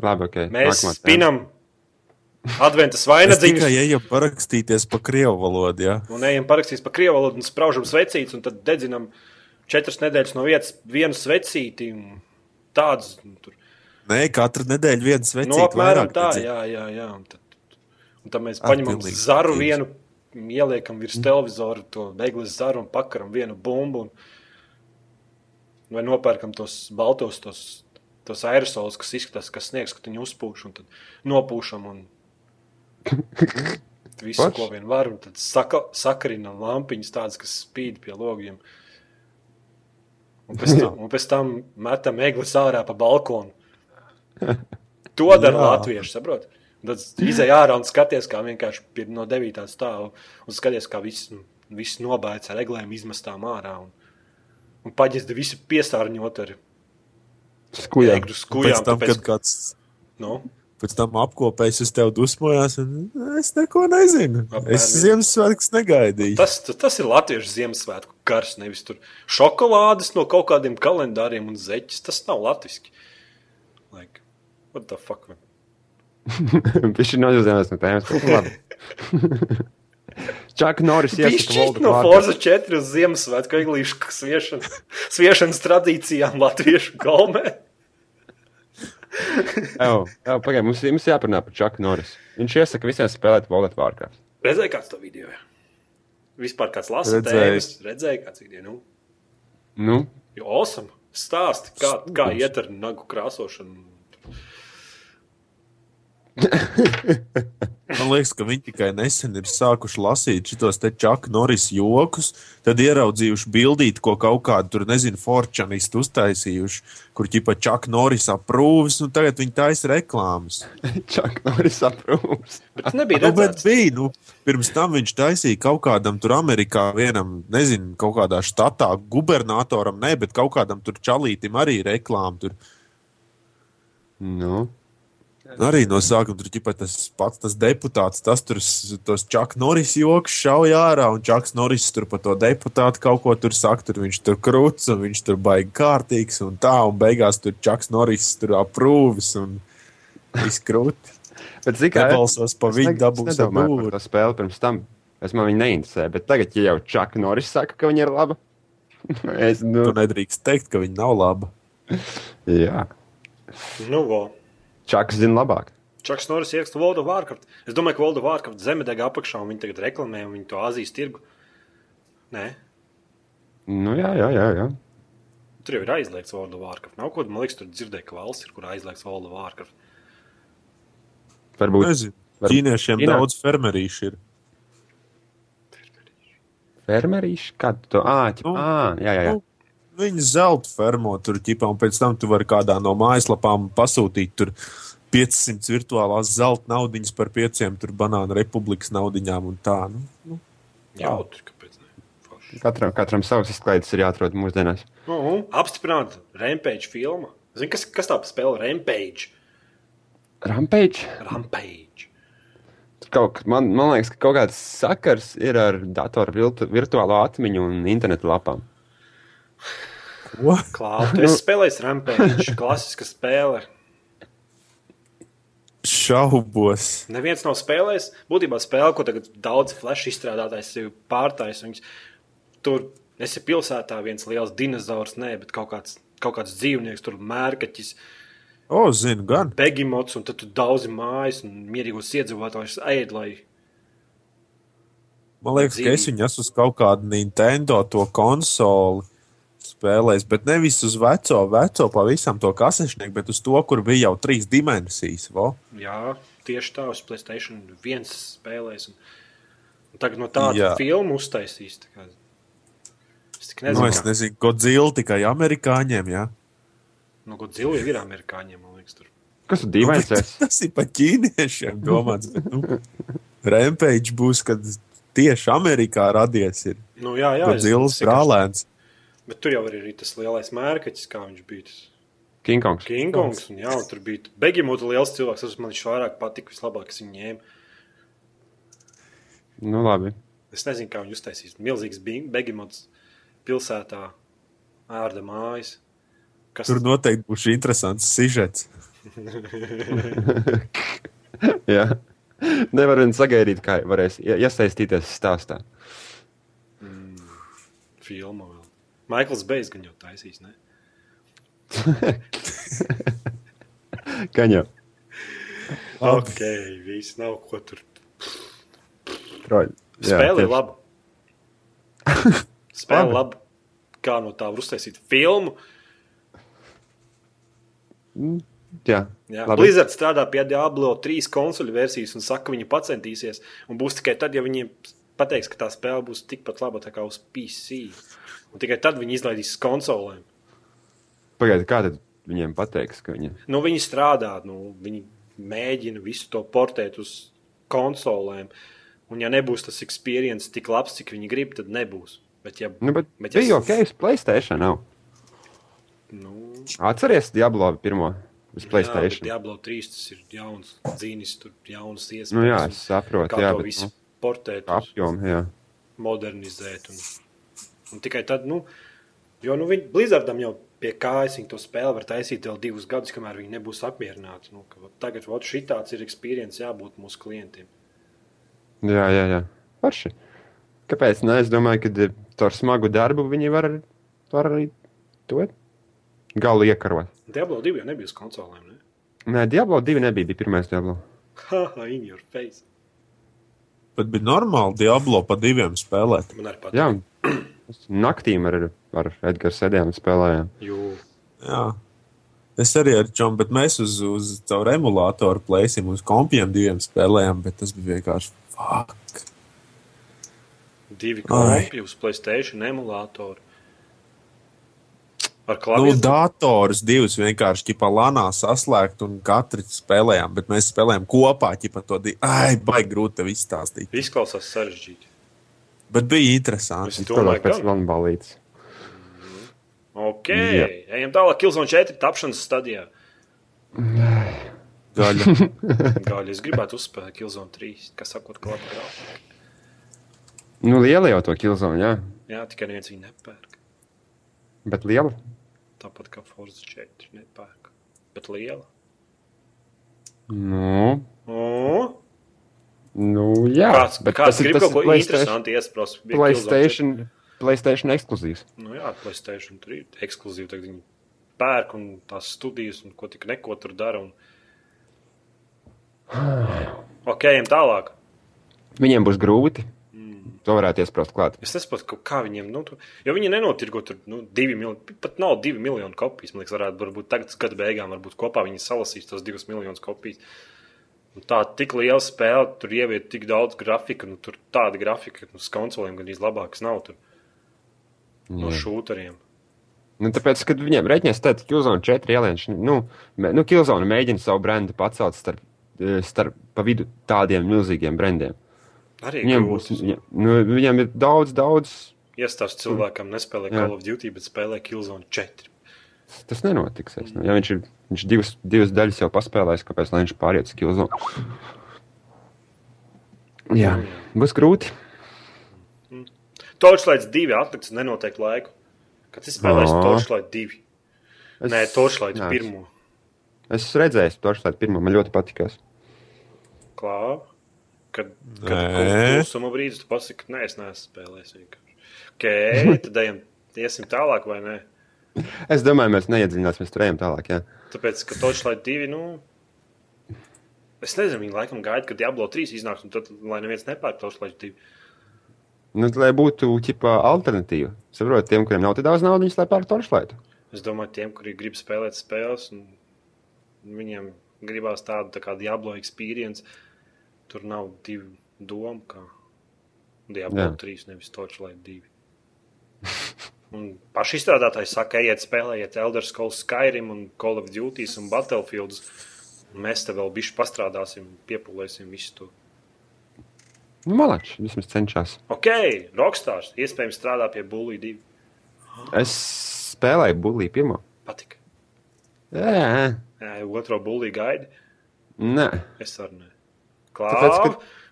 A: Labi, okay.
B: Mēs
A: Nākamā tēma.
B: spinam adventas
C: Es tikai
B: vainagdziņas
C: eju parakstīties pa krievu valodu. Ja?
B: un ejam parakstīs pa krievu valodu un spraužam svecītes un tad dedzinam četras nedēļas no vietas vienu svecīti un tādas. un Tur
C: Nē, katru nedēļu viens
B: Nu,
C: vecītis
B: apmēram
C: vairāk.
B: tā,
C: nedzer.
B: jā, jā, jā. Un tad, un tad mēs
C: Ah,
B: paņemam
C: pilnīgi Mm.
B: zaru vienu,
C: skatīgs.
B: ieliekam virs televizora to beigas zaru un pakaram vienu bumbu. Un, vai nopērkam tos baltos, tos, tos aerosolus, kas izskatās, kas sniegs, ka viņi uzpūš un tad nopūšam. Un, Visu,
A: Forši.
B: ko vien var, un tad saka, sakarinam lampiņas, tādas, kas spīd pie logiem. Un pēc tam, un pēc tam metam eglis ārā pa balkonu. To dara
C: Jā.
B: latvieši, saprot? Un Tad izēj ārā un skaties, kā vienkārši pie- no 9. stāva un skaties, kā viss, nu, viss nobēdz ar eglēm izmestām ārā. Un, un paģēsti visu piesārņot ar
A: Skuļā.
B: eglu
C: Un Nu, Pēc
B: skujām.
C: tam,
B: tāpēc,
C: kad kāds
B: nu,
C: pēc tam apkopējis uz tevi dusmojās, un "Nu, es neko nezinu.
B: Apmēram.
C: Es Ziemassvētkus negaidīju.
B: tas, tas ir latviešu Ziemassvētku gars, nevis tur šokolādes no kaut kādiem kalendāriem un zeķis. Tas nav latviski. Like, what the fuck? Man?
A: Viņš ir nozīmējis no tēmas. Čak Norris iesaka
B: Pišķiņš
A: Voldu
B: no
A: Kvārtu.
B: Forza 4 uz Ziemassvētku eglīšu sviešanas, sviešanas tradīcijām latviešu galmē.
A: Evo, evo, Pagaid, mums, mums jāparunā par Čaku Norrisu. Viņš iesaka visiem spēlēt Voldu Vārkā.
B: Redzēji, kāds to video ir? Vispār kāds lasa
C: Redzēju.
B: tēmas, redzēji, kāds video. Nu,
A: Nu,
B: jo awesome. Stāsti, kā, kā iet ar nagu krāsošanu.
C: Man liekas, ka viņi tikai nesen ir sākuši lasīt šos te čaku noris jokus, tad ieraudzījuši bildīt, ko kaut kādu tur, nezinu, forčanistu uztaisījuši, kur ķipa čaku noris aprūvis, un tagad viņi taisa reklāmas.
A: Čak Norris aprūps.
B: Bet tas nebija
C: Nu, bet
B: redzēts.
C: bija, nu, pirms tam viņš taisīja kaut kādam tur Amerikā, vienam, nezinu, kaut kādā štatā, gubernatoram, ne, bet kaut kādam tur čalītim arī reklāmu. Tur
A: Nu.
C: Arī no sākuma tur bija tas pats tas deputāts, tas tur s- tos Čakas Norris joks šauja ārā, un Čakas Norris tur par to deputātu kaut ko tur saka, tur viņš tur krūts, un viņš tur baigi kārtīgs, un tā, un beigās tur Čakas Norris tur aprūvis, un viss krūti.
A: Bet zini, kā
C: Nebalsos pa viņu dabūs
A: apgūlu.
C: apgūri.
A: Tā spēle pirms tam. Es man viņa neinteresēju, bet tagad, ja jau Čaka Norris saka, ka viņa ir laba, es nu.
C: Tu nedrīkst teikt, ka viņa nav laba.
A: Jā,
B: Nu, vo.
A: Čakas zina labāk.
B: Čaks Norris iekstu Voldu Vārkaptu. Es domāju, ka Voldu Vārkaptu zeme deg apakšā un viņi tagad reklamē un viņi to Azijas tirgu. Nē,
A: Nu, jā, jā, jā. jā.
B: tur jau ir aizliegts Voldu Vārkaptu. Nav ko, man liekas, tur dzirdēju, ka valsts ir, kur aizliegts Voldu Vārkaptu.
A: Varbūt
C: Nezinu.
A: Var-
C: Ķīniešiem
A: Ķīnā?
C: daudz fermerīšu ir.
A: fermerīši kādu to āķi.
C: Nu,
A: Ā, Jā, jā, jā.
C: nu, Viņi zelta fermo tur ķipā, un pēc tam tu vari kādā no mājaslapām pasūtīt tur 500 virtuālās zelta naudiņas par pieciem tur banānu republikas naudiņām un tā. Nu.
B: Jautri, kāpēc ne? Forši.
A: Katram, katram savs izklaides ir jāatrod mūsdienās.
B: Nu, un apstiprināt Rampage filmu. Zini, kas, kas tā spēle Rampage?
A: Rampage.
B: Rampage.
A: Kaut, k- man, man liekas, ka kaut kāds sakars ir ar datoru viltu, virtuālo atmiņu un internetu lapām.
C: Ko?
B: Klāt,
C: Nu.
B: es spēlēju Rampage, klasiska spēle.
C: Šaubos.
B: Neviens nav spēlējis. Būtībā spēle, ko tagad daudz flash izstrādātājs sev pārtais. Viņas, tur esi pilsētā viens liels dinozaurs, nē, bet kaut kāds, kaut kāds dzīvnieks, tur mērkaķis,
C: O, zinu, gan.
B: begimots, un tad tu daudzi mājas un mierīgos iedzīvotājus ēd, lai
C: Man liekas, ka es
B: Dzīvi.
C: viņu esmu uz kaut kādu Nintendo to konsoli. Spēlēs, bet nevis uz veco, veco pavisam to kasešnieku, bet uz to, kur bija jau trīs dimensijas. Vo?
B: Jā, tieši tā, uz Playstation 1 spēlēs. Un, un tagad no tāda
C: Jā.
B: Jā. filmu uztaisīs. tā kā. Es tikai
C: Nu,
B: nezinu,
C: es
B: kā-
C: nezinu, ko dziļi tikai amerikāņiem. Ja?
B: nu, ko dzīvo ir amerikāņiem, man liekas. Tur.
A: Kas tur dīvains? es-
C: Nu, Tas ir pat ķīniešiem domāts. Bet, nu, Rampage būs, kad tieši Amerikā radies ir
B: Nu, jā, jā, es-
C: Godzilla
B: es vienkārši-
C: brālēns.
B: Bet tur jau ir arī tas lielais mērķis, kā viņš bija. Tas
A: King Kongs.
B: Kingongs, un jā, un tur bija Begimots, liels cilvēks. Tas man viņš vairāk patika, vislabāk es viņu ņēmu.
A: Nu, labi.
B: Es nezinu, kā viņš uztaisīs. Milzīgs bija Begimots pilsētā, ārda mājas. Kas
C: Tur noteikti būs interesants sižets.
A: Jā. Nevar vien sagaidīt, kā varēs ie- iesaistīties stāstā.
B: filma vēl? Maikls Beigs gan jau taisīs, ne?
A: Kaņā,
B: Ok, viss nav ko tur.
A: troļi. Jā,
B: Spēle ir
A: tieši.
B: laba. Spēle
A: Labi.
B: laba. Kā no tā var uztaisīt filmu?
A: Jā,
B: Jā,
A: labi.
B: Blizzard strādā pie Diablo 3 konsoļu versijas un saka, ka viņi centīsies. Un būs tikai tad, ja viņiem pateiks, ka tā spēle būs tikpat laba tā kā uz PC. Un tikai tad viņi izlaidīs uz konsolēm.
A: Pagaidiet, kā tad viņiem pateiks, ka viņi.
B: Nu, viņi strādā, nu, viņi mēģina visu to portēt uz konsolēm. Un, ja nebūs tas pieredze tik labs, cik viņi grib, tad nebūs. Bet, ja,
A: Nu, bet
B: Bet
A: bet bija
B: es-
A: ok, uz Playstation nav.
B: nu,
A: Atceries Diablo pirmo uz
B: Jā, bet
A: Playstation? Jā,
B: Diablo 3 tas ir jauns dzīnis, tur jaunas iespējas.
A: nu, jā,
B: un
A: es saprotu,
B: kā
A: jā,
B: to
A: bet
B: visu
A: nu,
B: portēt, uz-
A: apjomu. Jā.
B: modernizēt. Un, un tikai tad, nu, jo nu, viņi Blizzardam jau pie kājas viņi to spēli var taisīt vēl divus gadus, kamēr viņi nebūs apmierināti. Nu, ka, vot, tagad vot, šitāds ir pieredze jābūt mūsu klientiem.
A: Jā, jā, jā. Parši. Kāpēc? Nē, es domāju, ka ar smagu darbu viņi var, var arī to galu iekarot.
B: Diablo 2 jau nebija uz konsolēm. Ne?
A: Nē, Diablo 2 nebija, bija pirmais Diablo.
B: Haha, in your face.
C: Bet bija normāli Diablo pa diviem spēlēt.
B: Man arī patīk.
A: Jā, mēs naktīm ar, ar Edgars sēdējām un spēlējām.
B: Jū.
C: Jā. Es arī ar Čomu, bet mēs uz, uz caur emulātoru plēsim, uz kompiem diviem spēlējām, bet tas bija vienkārši fuck.
B: Divi
C: Ai.
B: klipi uz Playstation emulātoru. Ar
C: Nu,
B: klavierēm.
C: dators divus vienkārši ķipa lanā saslēgt un katru spēlējām, bet mēs spēlējām kopā ķipa to divu. Ai, baigi grūti tev izstāstīt.
B: Izklausās sarežģīti.
C: Bet bija interesanti.
B: Es
A: Es
B: domāju,
A: domāju,
B: ka
A: pēc Lanbalītes.
B: Ok,
A: Jā.
B: ejam tālāk. Kilzona 4 tapšanas stadijā.
C: Gaļa.
B: Gāļi, es gribētu uzspēlēt Kilzona 3, kas sakot, ka labi grāmatā.
A: Nu, liela jau to kilzona, jā.
B: Jā, tikai neviens viņu nepērk.
A: Bet liela.
B: Tāpat kā Forza 4 nepērk. Bet liela.
A: Nu,
B: O,
A: nu jā.
B: kāds
A: bet
B: kāds grib kaut ko
A: PlayStation,
B: interesantu iesprāst? bija
A: PlayStation, PlayStation ekskluzīvs.
B: Nu, jā, Playstation 3 ir ekskluzīva. Tagad viņi pērk un tās studijas, un ko tik neko tur dara. Un... ok, ejam tālāk.
A: Viņiem būs grūti.
B: Mm.
A: To varētu iesprāst klāt.
B: Es nesaprotu, ka- kā viņiem, nu, tu, jo viņi nenotirgo tur nu, divi miljoni, pat nav divi miljoni kopijas. Man liekas, varētu, varbūt tagad, gada beigām, varbūt kopā viņi salasīs tos divus miljonus kopijas. Un tā tik liela spēle, tur ieviet tik daudz grafika, nu, tur tāda grafika, ka nu, uz konsolēm gandrīz labākas nav tur, no šūtariem.
A: Nu, tāpēc, kad viņiem rēķinās, tad Kilzona 4 ielienas, nu, mē- nu Kilzona mēģina savu brendu pacelt starp, eh, starp pa vidu tādiem milzīgiem brendiem.
B: Arī
A: Viņiem, būs,
B: grūti.
A: viņiem, nu, viņiem ir daudz, daudz.
B: Iestāsts cilvēkam nespēlē
A: Jā.
B: Call of Duty, bet spēlē Killzone 4.
A: Tas nenotiks. Es, nu, ja viņš ir viņš divas, divas daļas jau paspēlējis, kāpēc lai viņš pāriet uz Kilzonu? Jā, būs grūti.
B: Torchlight 2 atliks uz nenoteiktu laiku. Kad es spēlēju
A: Ā.
B: Torchlight 2?
A: Es,
B: Nē, Torchlight
A: jā,
B: 1.
A: Es redzēju, Toršlaitu pirmo man ļoti patīkās.
B: Klāra. Kad
C: Nē.
B: klusuma brīdis tu pasaki, ka nē, es neesmu spēlējis. vienkārši. Ok, tad ejam, iesim tālāk vai nē?
A: Es domāju, mēs neiedziļināsimies tur ejam tālāk. Jā.
B: Tāpēc, ka Torchlight 2, nu. Es nezinu, viņi laikam gaida, kad Diablo 3 iznāks, un tad, lai neviens nepērk Torchlight 2.
A: Nu, lai būtu ķipa, alternatīva. Saprotiet, tiem, kuriem nav tik daudz naudas, lai pērk Toršlaitu.
B: Es domāju, tiem, kuri grib spēlēt spēles, un viņiem gribās tādu tā kā Diablo experience, tur nav divu domu, kā Diablo
A: Jā.
B: 3, nevis Torchlight 2. Un paši izstrādātāji saka, ejiet, spēlējiet Elder Scrolls, Skyrim, un Call of Duty un Battlefields. Un Mēs te vēl bišķi pastrādāsim, piepūlēsim visu to.
A: Nu, Malačs vismaz cenšas.
B: Ok, Rockstars iespējams strādā pie Bully 2.
A: Es spēlēju buļbuļsāģi pirmo.
B: Patika.
A: Jā,
B: Jā, jau otro Bully gaidi.
A: nē.
B: Es arī ne.
A: Tāpēc,
B: Klāra.
A: ka-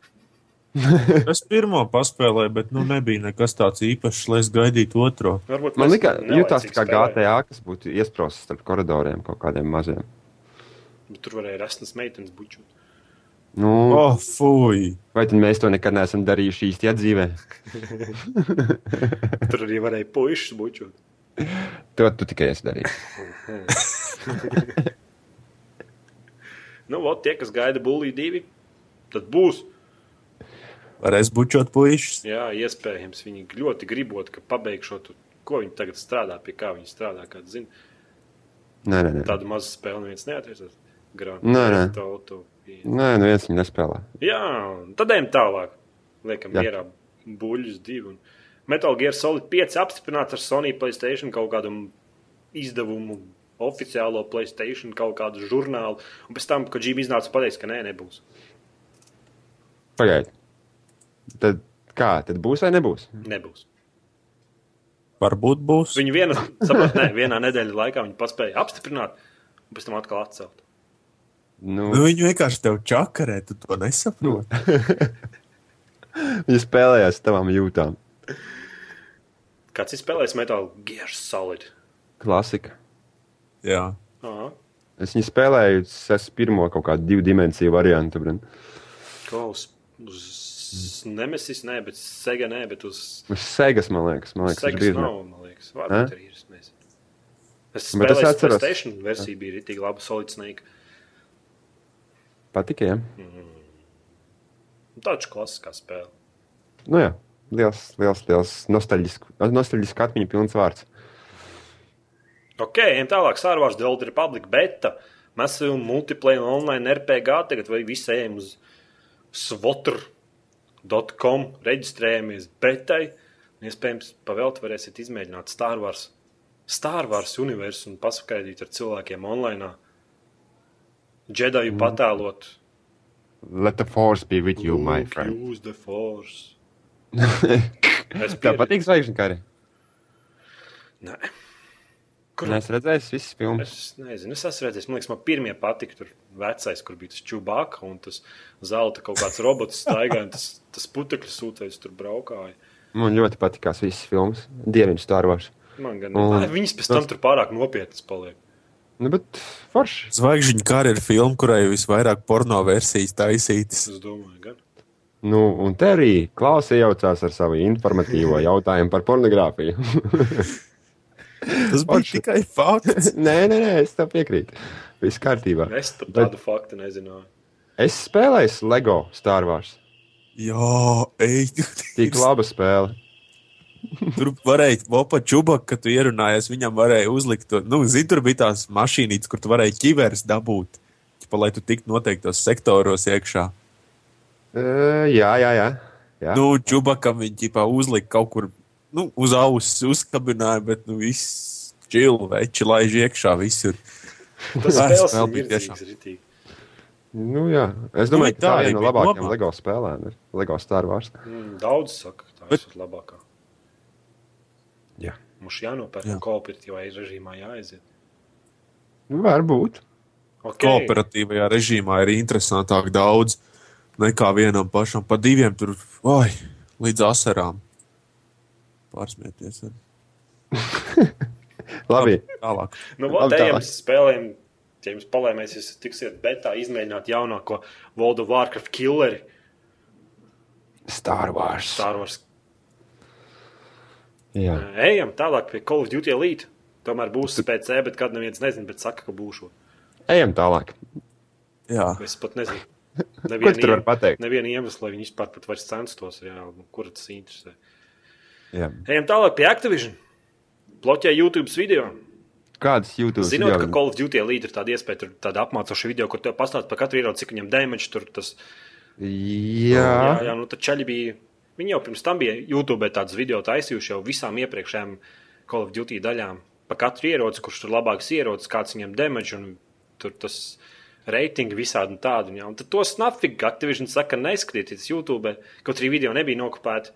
C: Es pirmo paspēlēju, bet nu nebija nekas tāds īpašs, lai es gaidītu otro.
B: Varbūt
A: Man
B: mēs
A: liekas, jutās
B: nelaicīgi
A: kā
B: spēlējam.
A: GTA, kas būtu iesprostas starp koridoriem kaut kādiem maziem.
B: Bet Nu, Tur varēja rast tas meitenes buču.
A: Nu, oh.
C: Oh, fuj!
A: Vai tad mēs to nekad neesam darījuši īstajā dzīvē?
B: Tur arī varēja puikas buču.
A: To tu tikai esi darījis.
B: Nu, vot, tie, kas gaida buļbuļsāģi divi, tad būs.
C: Varēs bučot puišus.
B: Jā, iespējams, viņi ļoti gribot, ka pabeigšot, ko viņi tagad strādā, pie kā viņi strādā. Kāds zina,
A: Nē, nē, nē.
B: tādu mazu spēli neviens
A: Nē,
B: neatrisinās.
A: nē.
B: Grāmatā.
A: Nē, nu viens viņa nespēlē.
B: Jā, un tad ejam tālāk. Liekam,
A: Jā.
B: mierā buļbuļs divi. Un Metal Gear Solid 5 apstiprināts ar Sony Playstation kaut kādu izdevumu, oficiālo Playstation kaut kādu žurnālu. Un pēc tam, kad Džīm iznāca, pateica, ka nē, nebūs.
A: Pagaidiet. Tad kā? Tad būs vai nebūs?
B: Nebūs.
C: Varbūt būs.
B: Viņu viena, saprat, ne, vienā nedēļas laikā viņi paspēja apstiprināt, un pēc tam atkal atcelt.
A: Nu,
C: Nu, viņu vienkārši tev čakarē, tu to
A: nu.
C: nesaproti.
A: Viņa spēlējās ar tavām jūtām.
B: Kāds ir spēlējis metālu gears solid?
A: Klasika.
C: Jā.
B: Aha,
A: Es viņu spēlēju, es pirmo kaut kādu divu dimensiju variantu. bren.
B: klaus. Uz Nemesis, nē, bet Sega, nē, bet uz
A: Uz Sēgas, man liekas, man liekas
B: Sega
A: viņš bija.
B: nav, man liekas. Varbūt
A: Nē?
B: arī ir. es nezinu. Es
A: Bet es
B: spēlēju es
A: atceros.
B: PlayStation versiju, bija arī tik laba Solid Snake.
A: Patika, jā.
B: Nu, Tāds klasiskā spēle.
A: Nu, jā. Liels, liels, liels nostalģisks atmiņu pilns vārds.
B: Ok, ejam tālāk. Star Wars The Old Republic beta. Mēs jau multiplayer online RPG tagad vai visi ejam uz svotr.com reģistrējamies betai. Un, Iespējams, pavēlt varēsiet izmēģināt Star Wars, Star Wars universu un paskaidrot ar cilvēkiem online.
A: Mm.
B: Džedaju patēlot.
A: Let the force be with you, my
B: Look,
A: friend.
B: Use the force. es
A: Tā
B: pieredzu.
A: patīk zvaigžņu kari.
B: Nē.
A: Nē, es redzēju, visas filmas.
B: Es nezinu, es esmu redzējis, man liekas, man pirmie patika tur vecais, kur bija tas čubaka un tas zelta kaut kāds robots staigājis, tas, tas putekļu sūtējs tur braukāja.
A: Man ļoti patīkās visas filmas. Dieviņš stārošs.
B: Man gan
A: Un
B: mm. viņas pēc tam tur pārāk nopietnas paliek.
A: Nu, bet forši.
C: Zvaigžņu kara ir filma, kurai visvairāk porno versijas taisītas.
B: Es domāju, gan.
A: Nu, un te arī Klausa jaucās ar savu informatīvo jautājumu par pornogrāfiju.
C: Tas bija
A: Forši.
C: tikai fakts.
A: nē, nē, nē, es tam piekrītu. Viss kārtībā.
B: Es tam
A: Bet-
B: tādu faktu nezināju.
A: Es spēlēju LEGO Star Wars.
C: Jā, ej,
A: Tik laba spēle.
C: tur varēja Vopa Čubak, kad tu ierunājies, viņam varēja uzlikt, to- nu, zini, tur bija tās mašīnītes, kur tu varēji ķivers dabūt, Ķipa, lai tu tiktu noteiktos sektoros iekšā.
A: E, jā, jā, jā. jā. Nu,
C: Nu, Čubakam viņi ķipā uzlika kaut kur, nu, uz auss uzkabināja, bet, nu, viss čil, veči laiž iekšā visur.
B: Tas
C: Jā,
B: spēles ir
C: spēle bija
B: mirdzīgs,
C: tiešām.
B: ritīgi.
A: nu, jā. Es
C: Nu,
A: domāju,
C: bet
A: ka tā
C: tā
A: ir
C: arī
A: viena no
C: bija
A: labākajām
C: labā.
A: LEGO spēlēm. ir LEGO Star Wars.
B: Mm, Daudz saka, ka tā
C: Bet-
B: ir labākā.
A: Jā.
B: Mums jānopērk
C: Jā.
B: jā. kooperatīvā režīmā jāaiziet.
A: Nu, varbūt.
B: Okay.
C: Kooperatīvajā režīmā ir interesantāk daudz nekā vienam pašam. Pa diviem tur, vai, līdz asarām. Pārsmieties.
A: Labi.
C: Tālāk.
B: Nu, vot,
A: Labi,
B: ejam
A: tālāk.
B: uz spēlēm. Ja jums palēmēs, jūs tiksiet betā izmēģināt jaunāko Voldu Vārkraft killeri.
A: Star Wars.
B: Star Wars.
A: Jā.
B: Ejam tālāk pie Call of Duty Elite. Tomēr būs PC, bet kad neviens nezina, bet saka, ka būšu.
A: Ejam tālāk.
C: Jā.
B: Es pat nezinu.
A: Ko tu tur vari pateikt?
B: Nevienu iemeslu, lai viņi vispār pat vairs censtos reāli, nu, kur tas interesē.
A: Jā.
B: Ejam tālāk pie Activision. Bloķē YouTube video.
A: Kādas jūtas?
B: Zinot, ka Call of Duty Elite ir tāda iespēja, tur tāda apmācoša video, kur tev pastāsta par katru ieroci, cik viņam damage tur tas
A: Jā.
B: Jā, jā nu tad čaļi bija. Viņi jau pirms tam bija YouTube tādas video taisījuši jau visām iepriekšējām Call of Duty daļām. Pa katru ieroci, kurš tur labāks ierocis, kāds viņam damage un tur tas reitingi visādi un tādi. un Jā. Un tad to snapfīgi Activision saka, neskatieties YouTube, kaut arī video nebija nokopēti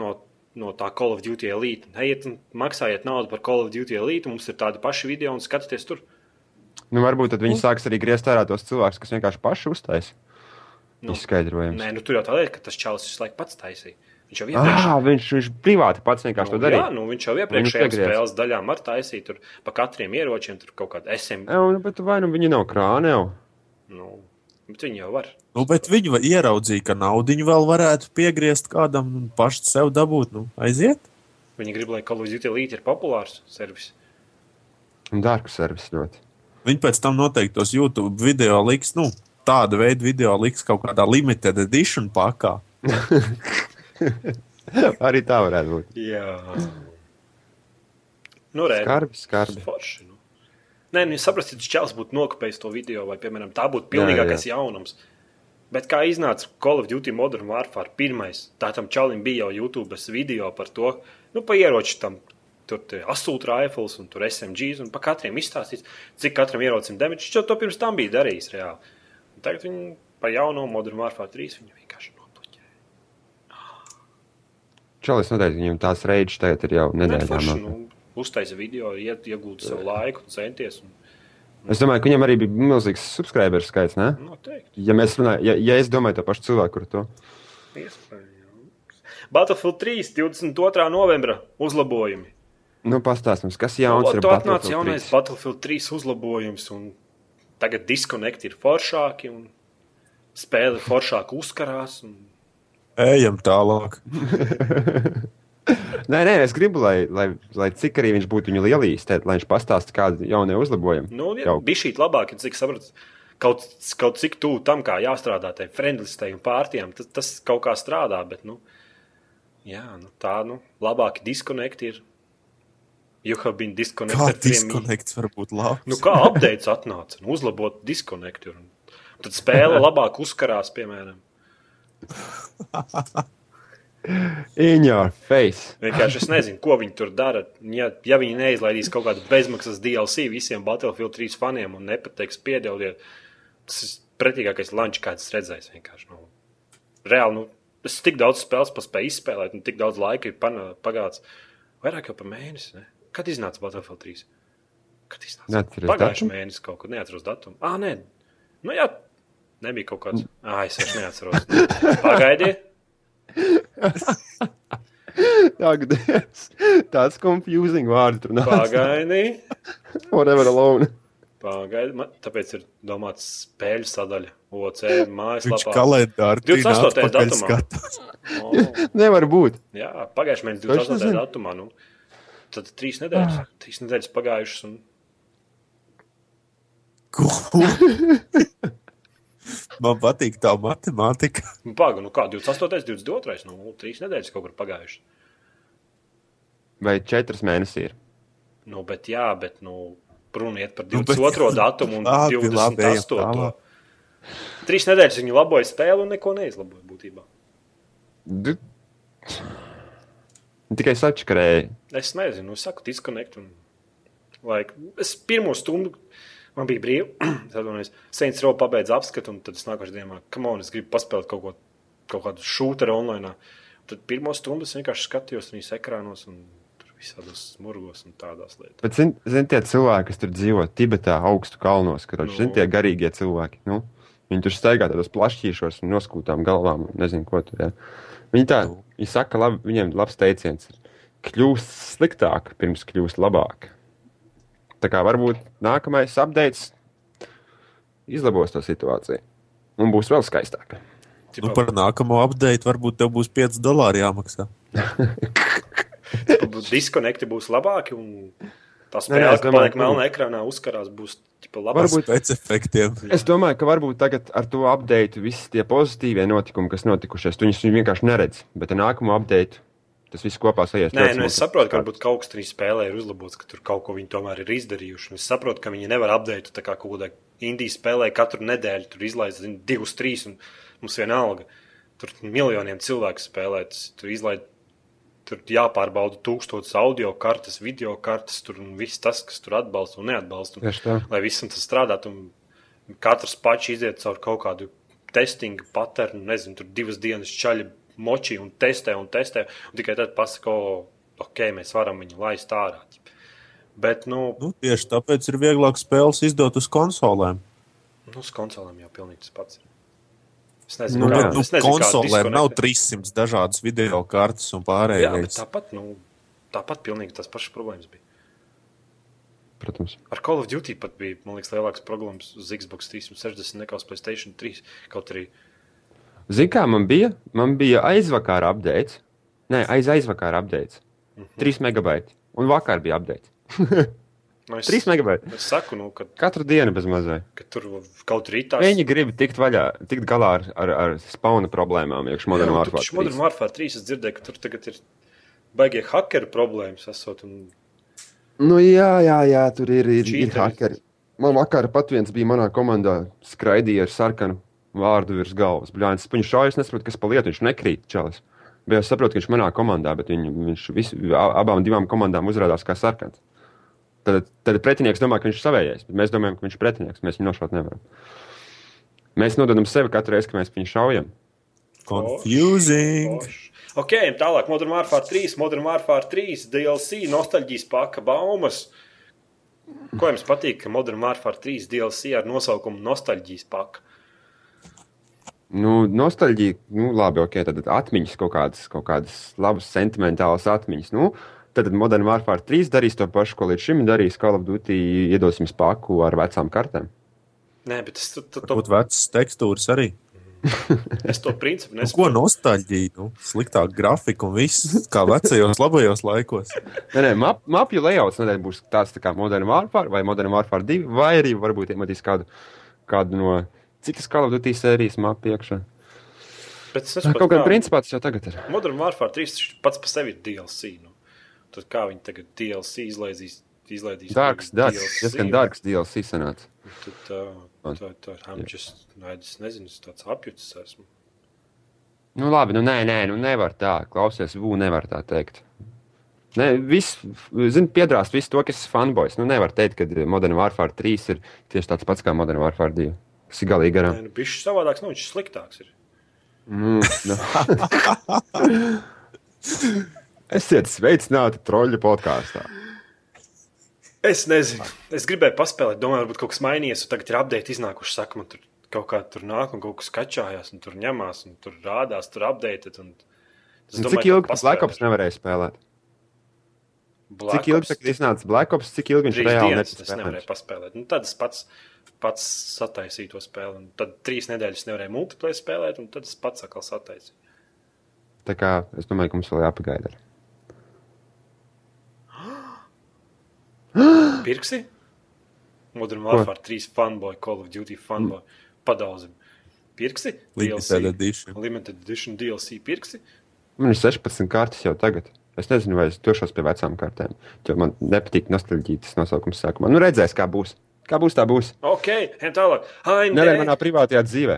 B: no, no tā Call of Duty elite. Ejiet un maksājiet naudu par Call of Duty elite, mums ir tādi paši video un skatieties tur.
A: Nu, varbūt tad viņi sāks arī griezt ārā tos cilvēkus, kas vienkārši paši uztais
B: Nu,
A: nu, izskaidrojumus.
B: Nē, nu tur jau tā lieta, ka tas čalis visu laiku pats taisīja. Viņš jau iepriekš
A: Ah, viņš, viņš privāti pats vienkārši nu, to
B: Jā,
A: darīja.
B: nu, viņš jau iepriekšējā
A: Viņš iegriez.
B: spēles daļā var taisīt tur pa katriem ieročiem, tur kaut kādu SM.
A: Jā, nu, bet vai nu viņi nav krāne jau?
B: Nu, bet viņi jau var.
C: Nu, bet viņi va- ieraudzīja, ka naudu vēl varētu piegriezt kādam un pašu sev dabūt. Nu, aiziet.
B: Viņi grib, lai Call of Duty Elite ir populārs servis.
A: Un dārgu servisu ļoti.
C: Viņi pēc tam noteikti tos YouTube video liks, nu, tāda veida video liks kaut kādā limited edition pakā.
A: arī tā varētu būt.
B: Jā. Nu, re,
A: Skarbi, skarbi.
B: Forši, nu. Nē, nu, saprast, ja tas čels būtu nokopējis to video, vai, piemēram, tā būtu pilnīgākais jaunums. Bet kā iznāca Call of Duty Modern Warfare pirmais, tā tam čalim bija jau YouTube video par to, nu, pa ieroči tam. Tur ir asūta rifles, un tur ir SMGs, un pa katram izstāstīts, cik katram ierocim damage. Viņš jau to pirms tam bija darījis reāli. Un tagad viņi pa jauno Modern Warfare 3 viņu vienkārši noplaķēja.
A: Čalis noteikti viņam tās reidžas tagad ir jau
B: Nē, forši,
A: nedēļām.
B: nu, uztaisa video, iet- iegūta savu laiku, centies. Un,
A: Es domāju, ka viņam arī bija milzīgs subscriber skaits, ne?
B: noteikti.
A: Ja mēs runājam, ja, ja es domāju to pašu cilvēku, kur to.
B: Iespējams. Battlefield 3, 22. novembra uzlabojumi.
A: Nu, pastāstams, kas jauns
B: Jauns
A: ir
B: tu atnāc
A: Battlefield
B: jaunais
A: 3?
B: Battlefield 3 uzlabojums, un tagad diskonekti ir foršāki, un spēle foršāk uzkarās. Un...
C: Ejam tālāk.
B: Nu,
A: Nē, nē, es gribu, lai, lai, lai cik arī viņš būtu viņu lielīs, tad, lai viņš pastāsta, kāda jaunie uzlabojumi.
B: Nu, ja,
A: Jauki.
B: bija šī labāk, un cik sapratu, kaut, kaut cik tuvu tam, kā jāstrādā tai friendlistei un pārtiem, tas, tas kaut kā strādā, bet, nu, jā, nu tā, nu, labāki diskonekti ir. You have been
C: Kā
B: disconnected. three minutes.
C: diskonekts var būt labs?
B: Nu, kā updates atnāca? Nu, uzlabot diskonektu. Tad spēle labāk uzkarās, piemēram.
A: In your face!
B: Vienkārši es nezinu, ko viņi tur dara. Ja, ja viņi neizlaidīs kaut kādu bezmaksas DLC visiem Battlefield 3 faniem un nepateiks, piedodiet, tas ir pretīgākais lančs, kāds es redzējis. vienkārši, Nu, reāli, nu, es tik daudz spēles paspēju izspēlēt, un tik daudz laika ir pana- pagājis. Vairāk jau par mēnesi. Ne? Kad iznāca Battlefield 3? Kad iznāca?
A: Neatceries
B: Pagājušā
A: datumu?
B: mēnesī kaut kad neatceros datumu. Ah, nē, nu, jā, nebija kaut kāds. Ah, es vairs neatceros. Pagaidiet!
A: Ak, Dievs! Tāds confusing vārds tur nāk.
B: Pagaidiet!
A: Forever alone.
B: Pagaidiet, man- tāpēc ir domāta spēļu sadaļa. OC,
C: Viņš
B: mājaslapā.
C: kalendāri
B: 28. datumā.
C: skatās.
B: O,
A: Nevar būt.
B: Nu, Jā, pagājušajā mēnesī,
A: Taču
B: 28.
A: nezinu.
B: datumā. Nu, tad trīs nedēļas,
C: Ah.
B: trīs nedēļas pagājušas. Un...
C: Ko? Man patīk tā matemātika.
B: un Paga, nu kā 28. 22. Nu, trīs nedēļas kaut kur pagājušas.
A: Vai četras mēnesis ir?
B: Nu, bet jā, bet nu, runa iet par
C: Nu, bet-
B: 22. datumu un
C: Labi, labi, ejam
B: 28.
C: tālāk.
B: Trīs nedēļas viņi laboja spēli un neko neizlaboja būtībā.
A: Du... Tikai sačkarēji.
B: Es nezinu, nu, saku, diskonekt. Un, like, es pirmo stundu man bija brīva. Tad es Saints Row pabeidzu apskatu, un tad es nākošajā dienā, kam on, es gribu paspēlēt kaut, ko, kaut kādu šūteru online. Tad pirmo stundu es vienkārši skatījos viņas ekrānos un tur visādos smurgos un tādās lietās.
A: Bet, zin, zin, tie cilvēki, kas tur dzīvo Tibetā, augstu kalnos, kur
B: Nu.
A: viņš ir tie garīgie cilvēki. Nu? Viņi tur staigā tādos plašķīšos, un noskūtām galvām, un nezinu, ko tur. Jā. Viņi tā, viņi saka, labi, viņiem labs teiciens ir kļūst sliktāk, pirms kļūst labāk. Tā kā varbūt nākamais updates izlabos to situāciju. Un būs vēl skaistāk.
C: Nu,
B: Tipā,
C: par nākamo update varbūt tev būs 5 dolāri jāmaksā.
B: nu, diskonekti būs labāki, un tā
A: nē,
B: spēle,
A: es nu.
B: kas
A: domāju,
B: paliek
A: ka-
B: melnā ekrānā, uzkarās, būs tipa, labāka.
A: Varbūt-
C: Varbūt pēc efektiem.
A: Es domāju, ka varbūt tagad ar to update visi tie pozitīvie notikumi, kas notikušies, tu viņus vienkārši neredz. Bet ar nākamo update tas viss kopā sajies.
B: Nē,
A: ļoti
B: nu es
A: smuki.
B: saprotu, ka varbūt kaut kas tur spēlē ir uzlabots, ka tur kaut ko viņi tomēr ir izdarījuši. Un Es saprotu, ka viņi nevar apdeitu tā kā kaut kādā Indijas spēlē katru nedēļu, tur izlaiž zini, divus, trīs un mums vienalga. Tur miljoniem cilvēku spēlē, tas tur izlaiž. Tur jāpārbauda tūkstotis audio kartes, video kartes, tur un viss tas, kas tur atbalsta un neatbalsta. Un,
A: Tieši tā.
B: lai visam tas strādātu, un katrs pats iziet cauri kaut kādu testingu patērnu, nezinu, tur divas dienas čaļi močī un testē un testē, un tikai tad pasaka, o, ok, mēs varam viņu laist ārā. Bet, nu,
C: Nu, tieši tāpēc ir vieglāk spēles izdot uz konsolēm.
B: nu uz konsolēm jau pilnīgi tas pats. ir. Es nezinu,
A: Nu,
C: Nu,
B: kā,
A: jā.
C: bet, nu,
B: es nezinu, kā
C: konsolēm nav
B: diskonekti-
C: 300 dažādas video kartes un
B: Jā, bet
C: pārējais.
B: tāpat, nu, tāpat pilnīgi tas pašas problēmas bija.
A: Protams.
B: Ar Call of Duty pat bija, man liekas, lielāks problēmas uz Xbox 360 nekā uz Playstation 3. Kaut arī
A: Zini, kā man bija? Man bija aizvakar update. Nē, aiz aizvakar update. Mm
B: Mhm.
A: -hmm. 3 megabaiti. Un vakar bija update.
B: nu, es,
A: 3 megabaiti.
B: es saku, nu, ka,
A: Katru dienu bez mazai.
B: ka tur kaut arī tāds.
A: Viņi grib tikt vaļā, tikt galā ar, ar, ar spauna problēmām, iekšā
B: Jā,
A: modernā
B: un tur taču Modern
A: vārdā.
B: Warfare 3 es dzirdēju, ka tur tagad ir baigie hackera problēmas. Esot, un...
A: Nu, jā, jā, jā, tur ir, ir, ir
B: Cheateri.
A: hakeri. Man vakar pat viens bija manā komandā, skraidīja ar sarkanu vārdu virs galvas. Bļāns, viņš šāvis, nesaprot, kas paliek, viņš nekrīt čalis. Bet es saprotu, ka viņš manā komandā, bet viņu, viņš visu, a- abām divām komandām uzrādās kā sarkans. Tad, tad pretinieks domā, ka viņš ir savējais, bet mēs domājam, ka viņš ir pretinieks. Mēs viņu nošaut nevaram. Mēs nododam sevi katru reizi, kad mēs viņu šaujam.
C: Confusing.
B: Oš. Ok, ejam tālāk. Modern Warfare 3, Modern Warfare 3, DLC, nostalģijas paka baumas. Ko jums patīk, ka Modern Warfare 3 DLC ar nosaukumu Nostalģijas paka?
A: Nu, nostalģija, nu, labi, ok, tad atmiņas kaut kādas, kaut kādas labas, sentimentālas atmiņas. Nu, Tad Modern Warfare 3 darīs to pašu, ko līdz šim ir darījis Call of Duty. Iedosim spēku ar vecām kartēm.
B: Nē, bet es to, to, to,
C: Varbūt vecas tekstūras arī.
B: es to principu
C: Es ko
B: nesaprotu.
C: nostalģiju, nu, sliktāk grafika un viss, kā vecajos labajos laikos.
A: Nē, nē, map, mapju lejauts nedēļ būs tāds tā kā Modern Warfare vai Modern Warfare 2, vai arī varbūt iemetīs kādu, kādu no citas Call of Duty sērijas mapu iekšā.
B: Bet es
A: Kaut
B: nesaprotu,
A: kā
B: kā-
A: principā tas jau tagad ir.
B: Modern Warfare 3 taču pats par sevi ir DLC. Nu. Tad kā viņi tagad DLC izlaidīs? izlaidīs
A: Dārgs, dārgs,
B: DLC,
A: diezgan dārgs DLC sanāca.
B: Nu, Tad, tā, tā, tā, I'm just, nu, es nezinu, es tāds apjucis esmu.
A: Nu labi, nu nē, nē, nu nevar tā, klausies, vū, nevar tā teikt. Nē, viss, zini, piedrāst visu to, kas ir fanboys. Nu nevar teikt, ka Modern Warfare 3 ir tieši tāds pats kā Modern Warfare 2. Tas ir galīgi garām.
B: Nē, nu, bišķi savādāks, nu, viņš sliktāks ir.
A: Nu, nu. Esiet sveicināti troļļu podkāstā.
B: Es nezinu, es gribēju paspēlēt, domāju, varbūt kaut kas mainījies, un tagad ir update iznākuši, saka, man tur kaut kā tur nāk, un kaut kas kačājās, un tur ņemās, un tur rādās, tur update. Un... Es
A: Nu,
B: domāju,
A: Cik ilgi
B: ka
A: tas Black Ops nevarēja spēlēt?
B: Black
A: Cik ilgi
B: Ops-
A: tagad iznāca Black Ops, cik ilgi viņš
B: trīs
A: reāli
B: dienas es nevarēju
A: nespēlēja?
B: paspēlēt. Nu, tad es pats, pats sataisīju to spēli. Un tad trīs nedēļas nevarēju multiplayer spēlēt, un tad es pats atkal sataisīju.
A: Tā kā es domāju, ka mums vēl jāpagaida.
B: Pirksi? Modern Warfare 3 fanboy, Call of Duty fanboy. Padaudzim. Pirksi?
C: Limited edition.
B: Limited edition DLC pirksi?
A: Man ir 16 kartes jau tagad. Es nezinu, vai es došos pie vecām kartēm. Jo man nepatīk nostalģijas nosaukums sākumā. Nu, redzēs, kā būs. Kā būs, tā būs.
B: Ok, ejam tālāk. AMD,
A: Nerei manā privātajā dzīvē.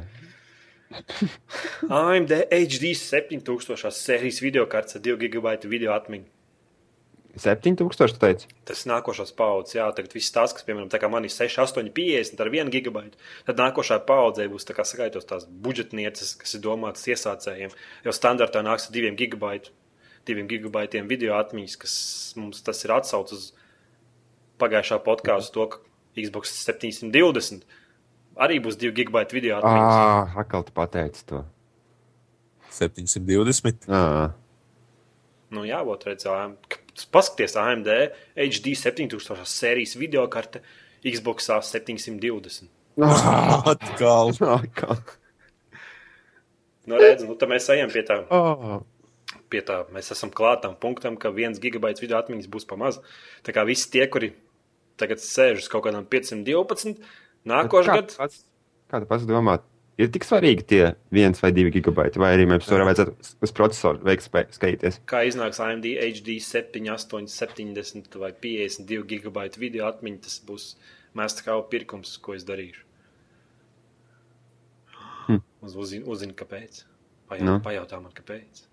B: AMD HD 7000 sērijas video kārtas ar 2 GB video atmiņu.
A: 7000, tu teici?
B: Tas nākošais paudzes, jā, tagad viss tās, kas, piemēram, tā kā man ir 6, 8, 50 ar 1 gigabaitu, tad nākošā paudzē būs tā kā sagaitos tās budžetnieces, kas ir domātas iesācējiem. Jo standartā nāks ar 2 gigabaitu, 2 gigabaitiem video atmiņas, kas mums tas ir atsaucis uz pagājušā podkāstu, to, ka Xbox 720 arī būs 2 gigabaitu video atmiņas.
A: Ah, akal tu pateici to.
C: 720.
A: Ah.
B: Nu, jā, vot redzējām, paskatieties, AMD HD 7000 sērijas video karte Xbox 720.
C: Atkal.
A: Akal.
B: Nu, redz, nu, tad mēs ejam pie tā,
A: Oh.
B: pie tā. Mēs esam klātam punktam, ka viens gigabaits video atmiņas būs pamazs. Tā kā visi tie, kuri tagad sēž uz kaut kādām 512, nākošais gads.
A: Kādu kādu pats domā, ir tik svarīgi tie viens vai divi gigabaiti, vai arī mums tur vajadzētu uz- uz procesoru veikt spēju skaitīties?
B: Kā iznāks AMD HD 7, 8, 70 vai 52 gigabaitu video atmiņa, tas būs mākslinieks pirkums, ko es darīšu.
A: Hm.
B: Uz, uzzin, uzzin, kāpēc. Pajautā,
A: Nu.
B: no. pajautā man, kāpēc.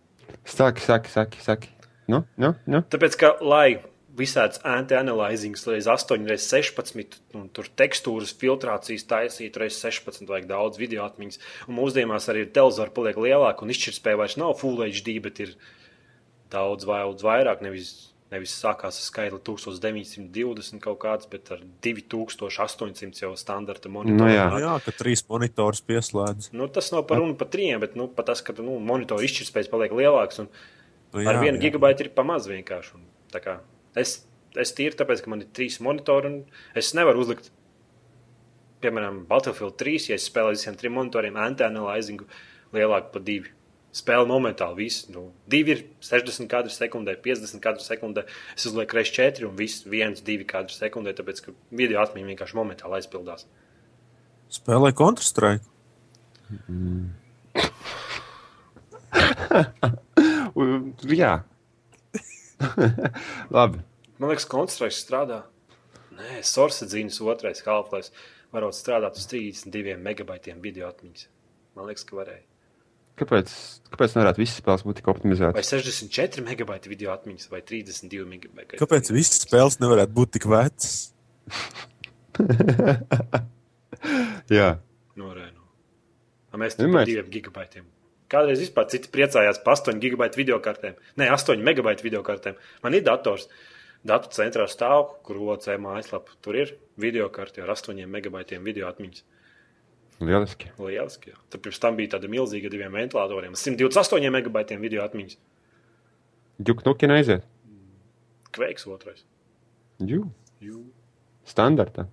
A: Saki, saki, saki. saki. Nu, nu, nu.
B: Tāpēc, ka, lai visāds anti-analyzings, reizes 8, reizes 16, un tur tekstūras filtrācijas taisītu, reizes 16, vajag daudz video atmiņas. Un mūsdienās arī telzvara paliek lielāka, un izšķirtspēja vairs nav Full HD, bet ir daudz, vai- daudz vairāk. Nevis, nevis sākās ar skaitli 1920 kaut kāds, bet ar 2800 jau standarta
A: Nu
B: monitoru.
A: jā.
C: Nu Jā, ka trīs monitors pieslēdz.
B: Nu, tas nav par runu par trījiem, bet nu, par tas, ka nu, monitora izšķirtspējas paliek lielākas. un
C: Nu
B: Ar
C: jā,
B: vienu
C: jā.
B: gigabaitu ir pamazs vienkārši. Un, tā kā, es, es tīri tāpēc, ka man ir trīs monitori, un es nevaru uzlikt, piemēram, Battlefield 3, ja es spēlēju visiem trim monitoriem, anti-analyzingu lielāku par divu. Spēle momentāli viss. Nu, divi ir 60 kadri sekundē, 50 kadri sekundē. Es uzlieku reizes 4 un viss 1, 2 kadri sekundē, tāpēc ka video atmiņa vienkārši momentāli aizpildās.
C: Spēlē Counter-Strike.
A: U, Jā. Labi.
B: Man liekas, konstrukts strādā. Nē, Sorsadzīnas otrais halflais varot strādāt uz 32 megabaitiem video atmiņas. Man liekas, ka varēja.
A: Kāpēc, kāpēc nevarētu visas spēles būt tik
B: Vai
A: optimizētas?
B: 64 megabaiti video atmiņas, vai 32 megabaiti.
C: Kāpēc visas spēles nevarētu būt tik vecas?
A: Jā,
B: Norēno. A, Mēs tam
A: Vienmēr.
B: par 2 gigabaitiem. Kādreiz vispār citi priecājās par 8 gigabaitu video kartēm. Nē, 8 megabaitu video kartēm. Man ir dators. Datu centrā stāv, kur OCE mājaslapa. Tur ir video karte ar 8 megabaitiem video atmiņas.
A: lieliski.
B: Lieliski. jā. Tad pirms tam bija tāda milzīga ar diviem ventilatoriem, 128 megabaitiem video atmiņas.
A: nu, Džuknuki neaiziet.
B: Kveiks otrais.
A: Jū,
B: Jū.
A: standartā.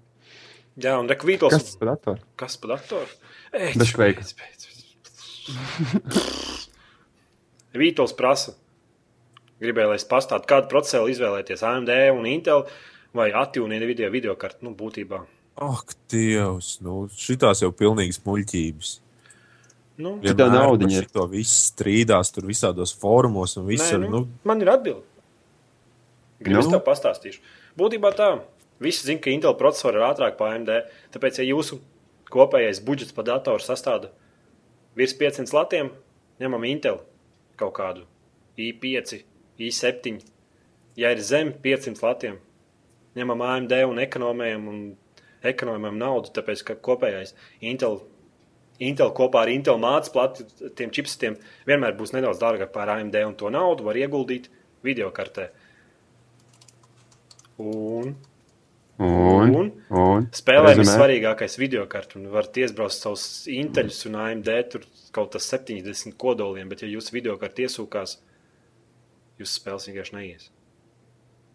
B: Jā, un Rekvītos.
A: Kas par datoru?
B: Kas par datoru? Ej,
A: Bez kveika.
B: pēc, pēc, pēc. Vītols prasa, gribēju, lai es pastāstu, kādu procesoru izvēlēties AMD un Intel vai attīstītu video, video kartu. Nu, būtībā.
C: Ak, Dievs, nu, šitās jau pilnīgas muļķības.
B: Nu,
A: Ja tā naudiņa ir.
C: To viss strīdās, tur visādos formos un
B: nē,
C: visur.
B: nu,
C: Nu,
B: Man ir atbilde. Gribu
A: Nu?
B: nu? tev pastāstīšu. Būtībā tā, visi zina, ka Intel procesori ir ātrāk par AMD. Tāpēc, ja jūsu kopējais budžets par datoru sastāv virs 500 latiem, ņemam Intel kaut kādu i5, i7. Ja ir zem 500 latiem, ņemam AMD un ekonomējam, un ekonomējam naudu, tāpēc, ka kopējais Intel. Intel kopā ar Intel mācību plati tiem čipsiem vienmēr būs nedaudz dārgāk par AMD, un to naudu var ieguldīt video kartē. Un
A: Un,
B: Un?
A: un
B: spēlēm ir
A: Rezumē.
B: svarīgākais video kartē, un varat iesprāst savus inteļus un AMD tur kaut kas 70 kodoliem, bet ja jūs video kartē iesūkās, jūs spēles vienkārši neies.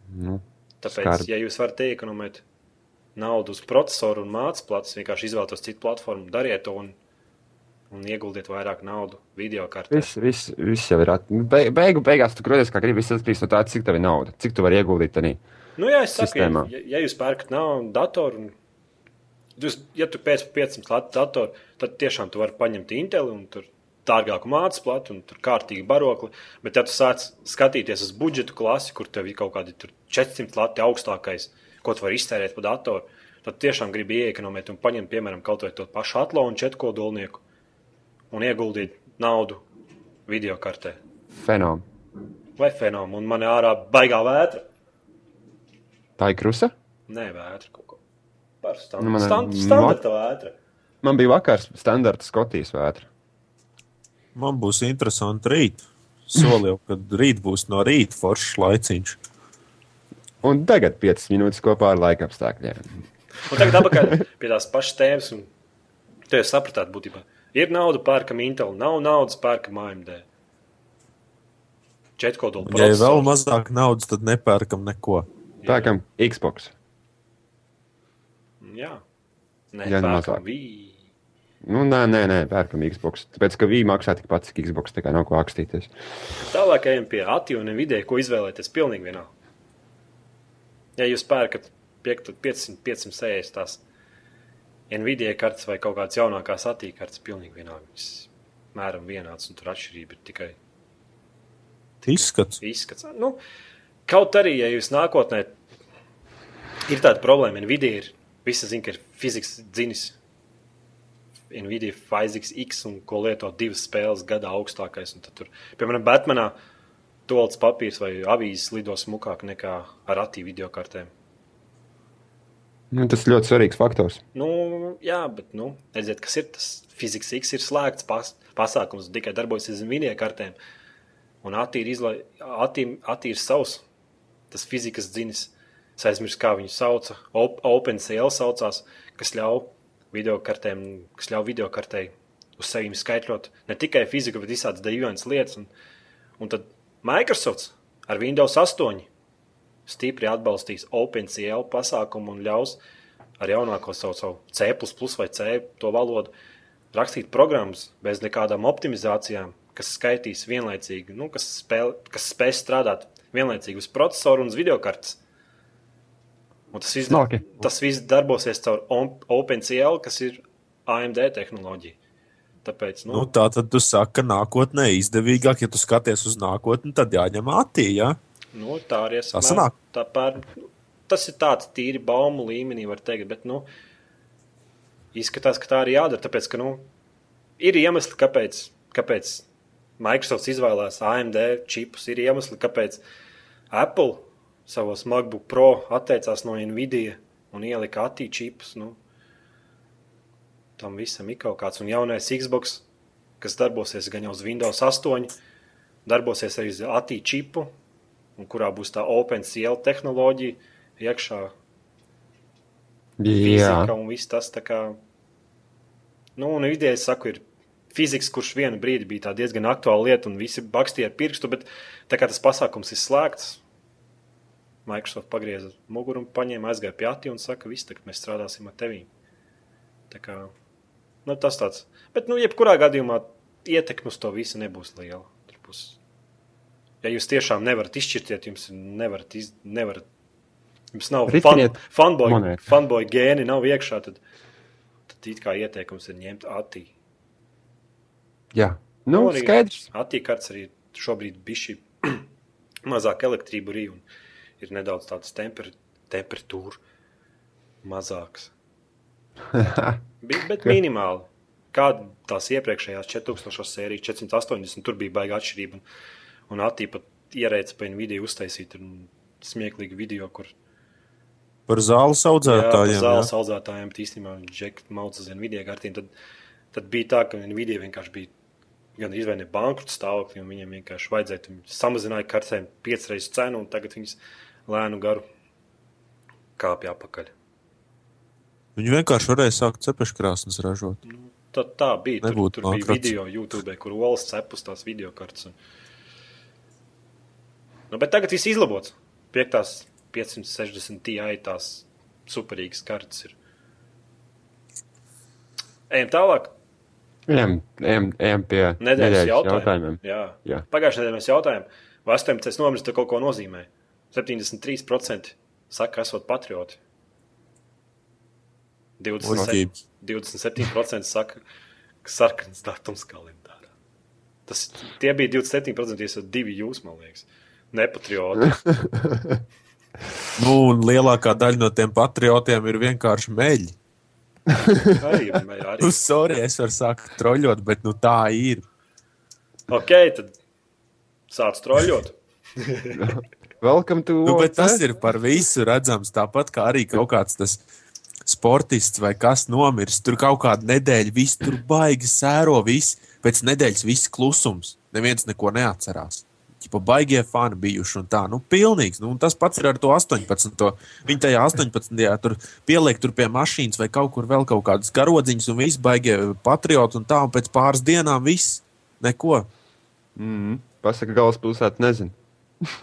A: Nu,
B: Tāpēc,
A: Skarbi.
B: Skarbi. ja jūs varat iekonomēt naudu uz procesoru un mācību plakātu, vienkārši izvēlēties citu platformu, dariet to un, un ieguldiet vairāk naudu video kartē.
A: Viss, viss, viss jau ir. At... Be, beigu, beigās tu grūties, kā gribi. Viss atkarīgs no tā, cik tev ir nauda, cik tu vari ieguldīt tajā.
B: Nu, jā, es saku, ja,
A: sistēmā.
B: ja- ja jūs pērkat naudu, datoru, un jūs, ja tu pēc 500 latu datoru, tad tiešām tu vari paņemt Intel un tur dārgāku mācību platu un tur kārtīgi barokli. Bet, ja tu sāc skatīties uz budžetu klasi, kur tev ir kaut kādi tur 400 lati augstākais, ko tu vari iztērēt par datoru, tad tiešām gribi ieekonomēt un paņemt, piemēram, kaut vai to pašu atlauņu četrkodolnieku un ieguldīt naudu video kartē
A: Fenomenā.
B: vai fenomu. Un man ir ārā baigā vētra.
A: Tā ir krusa.
B: Nē, vētra kaut ko. Par
A: Nu, man
B: standartu. Nu,
A: ir
B: Stand,
A: mak-
B: standarta vētra.
A: Man bija vakars standarta Skotijas vētra.
C: man būs interesanti rīt. Solīju, ka rīt būs no rīta foršs laiciņš.
A: Un tagad 5 minūtes kopā ar laika apstākļiem.
B: Un tagad apakaļ pie tās pašas tēmas. Un... Te jūs sapratāt, būtībā. Ir nauda, pērkam Intel, nav naudas, pērkam AMD. Četkodola
C: Ja ir vēl
B: procesors.
C: mazāk naudas, tad nepērkam neko.
A: Tā kā Xbox.
B: Jā, nē,
A: Ja
B: jā,
A: ne mazāk.
B: pērkam Wii.
A: Nu, nē, nē, nē, pērkam Xbox. Tāpēc, ka Vīna maksā tik pats, cik Xbox. Tā kā nav ko akstīties.
B: Tālāk ejam pie attīstības vidē, ko izvēlēties. Pilnīgi vienalga. Ja jūs pērkat piektu- 500, 560 tās Nvidia E kartes vai kaut kādas jaunākās attīstības kartes, pilnīgi vienalga. Viņas mēram vienāds un tur atšķirība ir tikai
C: Izskats.
B: izskats. Nu, kaut arī, ja jūs nākotnē ir tāda problēma, Nvidia ir visi zina, ka ir fizikas dzinis. Nvidia Physics X un ko lieto divas spēles gadā augstākais. un tad Tur, piemēram, Batmanā tolts papīrs vai avīzes lido smukāk nekā ar attīvu video kartēm.
A: Nu, tas ir ļoti svarīgs faktors.
B: Nu, jā, bet, nu, redziet, kas ir tas fizikas X, ir slēgts pas, pasākums, tikai darbojas uz video kartēm. Un attīrīja savus, tas fizikas dzinis. Es aizmirsu, kā viņu sauca. Op, OpenCL saucās, kas ļauj video kartēm, kas ļauj video kartē uz sevi skaitļot ne tikai fiziku, bet visādas dejojums lietas. Un, un tad Microsoft ar Windows 8 stipri atbalstīs OpenCL pasākumu un ļaus ar jaunāko savu, savu C vai C to valodu rakstīt programmas bez nekādām optimizācijām, kas skaitīs vienlaicīgi, nu, kas, spēl, kas spēj strādāt vienlaicīgi uz procesoru un uz videokartes. Un tas, viss,
A: Smalki.
B: tas viss darbosies caur Om- OpenCL, kas ir AMD tehnoloģija. Tāpēc, nu,
C: Nu, tā tad tu saki, ka nākotnē izdevīgāk, ja tu skaties uz nākotni, tad jāņem attī. Ja?
B: Nu, tā arī ir.
C: Tā sanāk.
B: Tā pār, tas ir tāds tīri baumu līmenī, var teikt. Bet, nu, izskatās, ka tā arī jādara. Tāpēc, ka, nu, ir iemesli, kāpēc, kāpēc Microsoft izvēlējās AMD čipus, ir iemesli, kāpēc Apple savos MacBook Pro atteicās no Nvidia un ielika attīstīt čipus. Nu, tam visam ir kaut kāds. Un jaunais Xbox, kas darbosies gan jau uz Windows 8, darbosies arī uz attīstību čipu, un kurā būs tā OpenCL tehnoloģija, iekšā
A: Jā,
B: fizika un viss tas. tā Kā, nu, un ideja, es saku, ir fizikas, kurš vienu brīdi bija tā diezgan aktuāla lieta, un visi bakstīja ar pirkstu, bet tā kā tas pasākums ir slēgts, Microsoft pagrieza muguru un paņēma aizgāja pie Ati un saka, viss tagad mēs strādāsim ar tevi. Tā kā nu, tas tāds. Bet, nu, jebkurā gadījumā ietekme uz to visu nebūs liela. Tur Būs. Ja jūs tiešām nevarat izšķirties, jums nevarat, iz, nevarat, jums nav fan,
A: Ritiniet
B: fanboy,
A: monētu.
B: fanboy gēni, nav iekšā, tad, tad it kā ieteikums ir ņemt Ati.
A: Jā, nu,
B: arī
A: skaidrs.
B: Attīkats arī šobrīd bišķi mazāk elektrību arī un ir nedaudz tāds temper, temperatūra mazāks. Bi- Bet minimāli. Kā tās iepriekšējās 4000 sērijas, 480, tur bija baiga atšķirība. Un, un attīpa ierēca pēc video uztaisīt un smieklīgu video, kur
C: Par zāles audzētājiem. Jā,
B: zāles audzētājiem, bet īstenībā Džeks Maudzes un Nvidia kartīm, tad, tad bija tā, ka Nvidia vienkārši bija gan izvēlēta bankrota stāvoklī, un viņiem vienkārši vajadzēja tam samazināt kartēm piecas reizes cenu, un tagad viņas lēnu garu kāpj apakaļ.
C: Viņi vienkārši varēja sākt cepeškrāsnes ražot.
B: Tad tā bija. Tur,
C: Nebūtu
B: tur bija
C: bankrats.
B: video YouTube, kur valsts cepus tās video kartes. Un... Nu, bet tagad viss izlabots. Piektās 560 TI tās superīgas kartes ir. Ejam tālāk.
A: Ejam, ejam, ejam pie
B: Nedēļas jautājumiem.
A: jautājumiem.
B: Jā. Jā.
A: Jā.
B: Pagājušajā nedēļā mēs jautājām, vai 18. novembris tev kaut ko nozīmē. 73% saka, esot patrioti. 27,
C: Muļķības.
B: 27% saka, ka sarkans datums kalendārā. Tas, tie bija 27%, tie ir divi jūs, man liekas. Nepatrioti.
C: Nu, un lielākā daļa no tiem patriotiem ir vienkārši meļi.
B: Arī, arī.
C: Nu, sorry, es varu sākt troļļot, bet nu, tā ir.
B: Ok, tad sāc troļļot.
A: Welcome to
C: Nu, bet
A: OC.
C: tas ir par visu redzams. Tāpat kā arī kaut kāds tas sportists vai kas nomirst. Tur kaut kāda nedēļa, viss tur baigi sēro, viss pēc nedēļas viss klusums. Neviens neko neatcerās. Pa baigie fani bijuši un tā, nu, pilnīgs. Nu, un tas pats ir ar to 18. Viņi tajā 18. tur pieliek tur pie mašīnas vai kaut kur vēl kaut kādas karodziņas, un viss baigie patrioti un tā, un pēc pāris dienām viss neko.
A: Mm, pasaka, galvaspilsēta nezinu.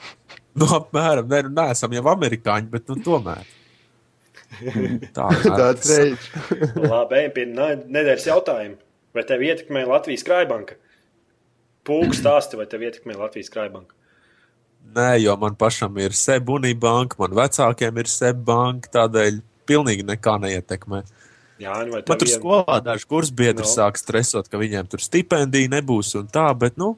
C: Nu, apmēram, ne, nu, neesam jau amerikāņi, bet nu, tomēr. Tā
A: Tāds reizes.
B: Labi, ejam pie na- nedēļas jautājuma. Vai tev ietekmē Latvijas krājbanka? Pūks stāsti, vai tev ietekmē Latvijas krājbanka?
C: Nē, jo man pašam ir sebunī banka, man vecākiem ir sebbanka, tādēļ pilnīgi nekā neietekmē.
B: Jā, nu, vai tev
C: Man tur
B: iem-
C: skolā daži kursbiedri
B: No.
C: no. sāk stresot, ka viņiem tur stipendija nebūs un tā, bet, nu,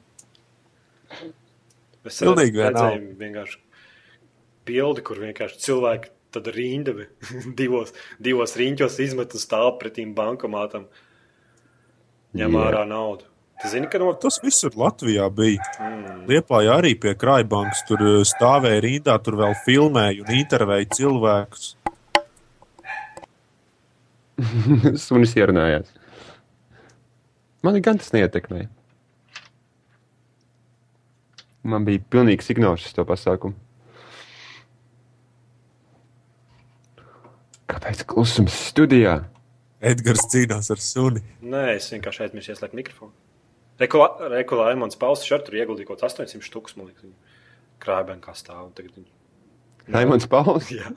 B: Es
C: Pilnīgi
B: redzēju vienkārši bildi, kur vienkārši cilvēki tad rindavi divos, divos riņķos izmet un stāv pretīm bankomātam, ņem
A: Jā.
B: ārā naudu. Tu zini, ka no...
C: tas viss ir Latvijā bija. Liepā arī pie krājbankas tur eh, stāvēja rindā, tur vēl filmēja un intervēja cilvēkus.
A: Sunis ierunājās. Man gan tas neietekmēja. Man bija pilnīgs ignorants to pasākumu. Kāpēc klusums studijā?
C: Edgars cīnās ar suni.
B: Nē, es vienkārši aizmirsu ieslēgt mikrofonu. Rekulā Emons Pauls šeit tur ieguldīja kaut kāds 800 štukus, man liekas, viņa krājbankā stāv. un Tagad viņa
A: Raimons Pauls.
B: Jā.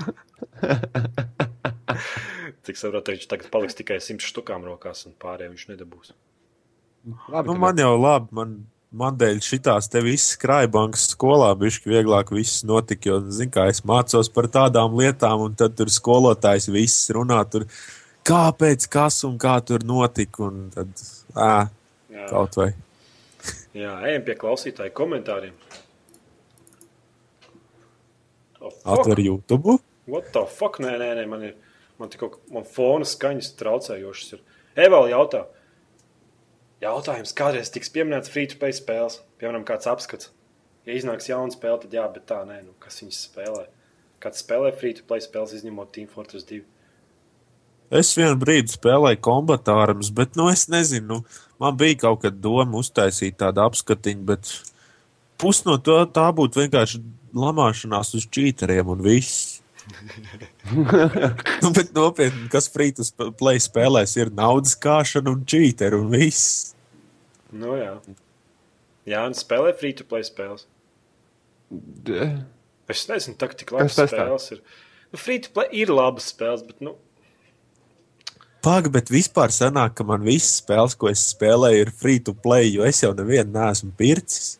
B: Cik saprotu, viņš tagad paliks tikai simt štukām rokās, un pārējiem viņš nedabūs.
A: Labi,
C: Nu, man jau labi, man, man dēļ šitās te visas krājbankas skolā bija vieglāk viss notika, jo, zin kā, es mācos par tādām lietām, un tad tur skolotājs viss runā tur, kāpēc, kas un kā tur notika, un tad, ā,
B: Jā,
C: kaut vai.
B: Jā ejam pie klausītāju komentāriem. Oh, fuck,
C: Atver YouTube,
B: What the fuck? Nē, nē, nē man ir. Man tikko man fona skaņas traucējošas. Ir. Evaļ jautā. Jautājums, kādreiz tiks pieminēts free to play spēles? Piemēram, kāds apskats. Ja iznāks jauna spēle, tad jā, bet tā nē, nu, kas viņas spēlē. Kāds spēlē free to play spēles, izņemot Team Fortress 2?
C: Es vienu brīdi spēlēju kombatārus, bet, nu, es nezinu, nu, man bija kaut kad doma uztaisīt tādu apskatiņu, bet pus no to tā būtu vienkārši lamāšanās uz čīteriem un viss. nu, bet nopietni, kas frītas play spēlēs, ir naudas kāšana un čīteri un viss.
B: Nu, jā. Jā, un spēlē free to play spēles.
A: D-
B: Es nezinu, tā, cik labas
A: tas tā?
B: spēles ir. Nu, Free to play ir labas spēles, bet nu,
C: Pagaidām, bet vispār sanāk, ka man visas spēles, ko es spēlēju, ir free to play, jo es jau nevienu neesmu pircis.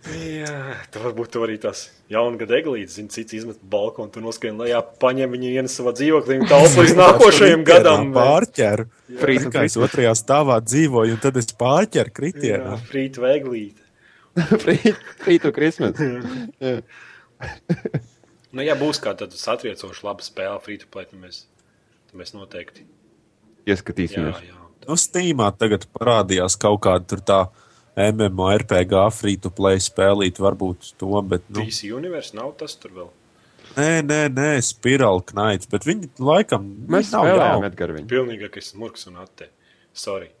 B: jā, tā varbūt tur arī tas jaungada eglītis, zina, cits izmet balkonu, tur noskrien lejā, paņem viņu ienu savā dzīvoklī un tālp līdz nākošajam gadam.
C: pārķēru.
A: Free to
C: Kā es otrajā stāvā dzīvoju, un tad es pārķēru kritienā.
B: Free to eglītis.
A: Free free to Christmas. Jā.
B: Nu, ja būs kāda tāda satriecoša laba spēle, free to play, tad mēs, tad mēs noteikti. Jā,
A: Ieskatīsimies.
B: jā.
C: Nu, Steamā tagad parādījās kaut kāda tur tā MMORPG free to play spēlīt, varbūt to, bet. Nu,
B: DC universe nav tas tur vēl.
C: nē, nē, nē, spirāli knaits, bet viņi laikam.
A: Mēs
C: viņi nav
A: spēlējām
C: jauni.
A: Edgars viņu.
B: Pilnīgākais smurks un atte. Sorry.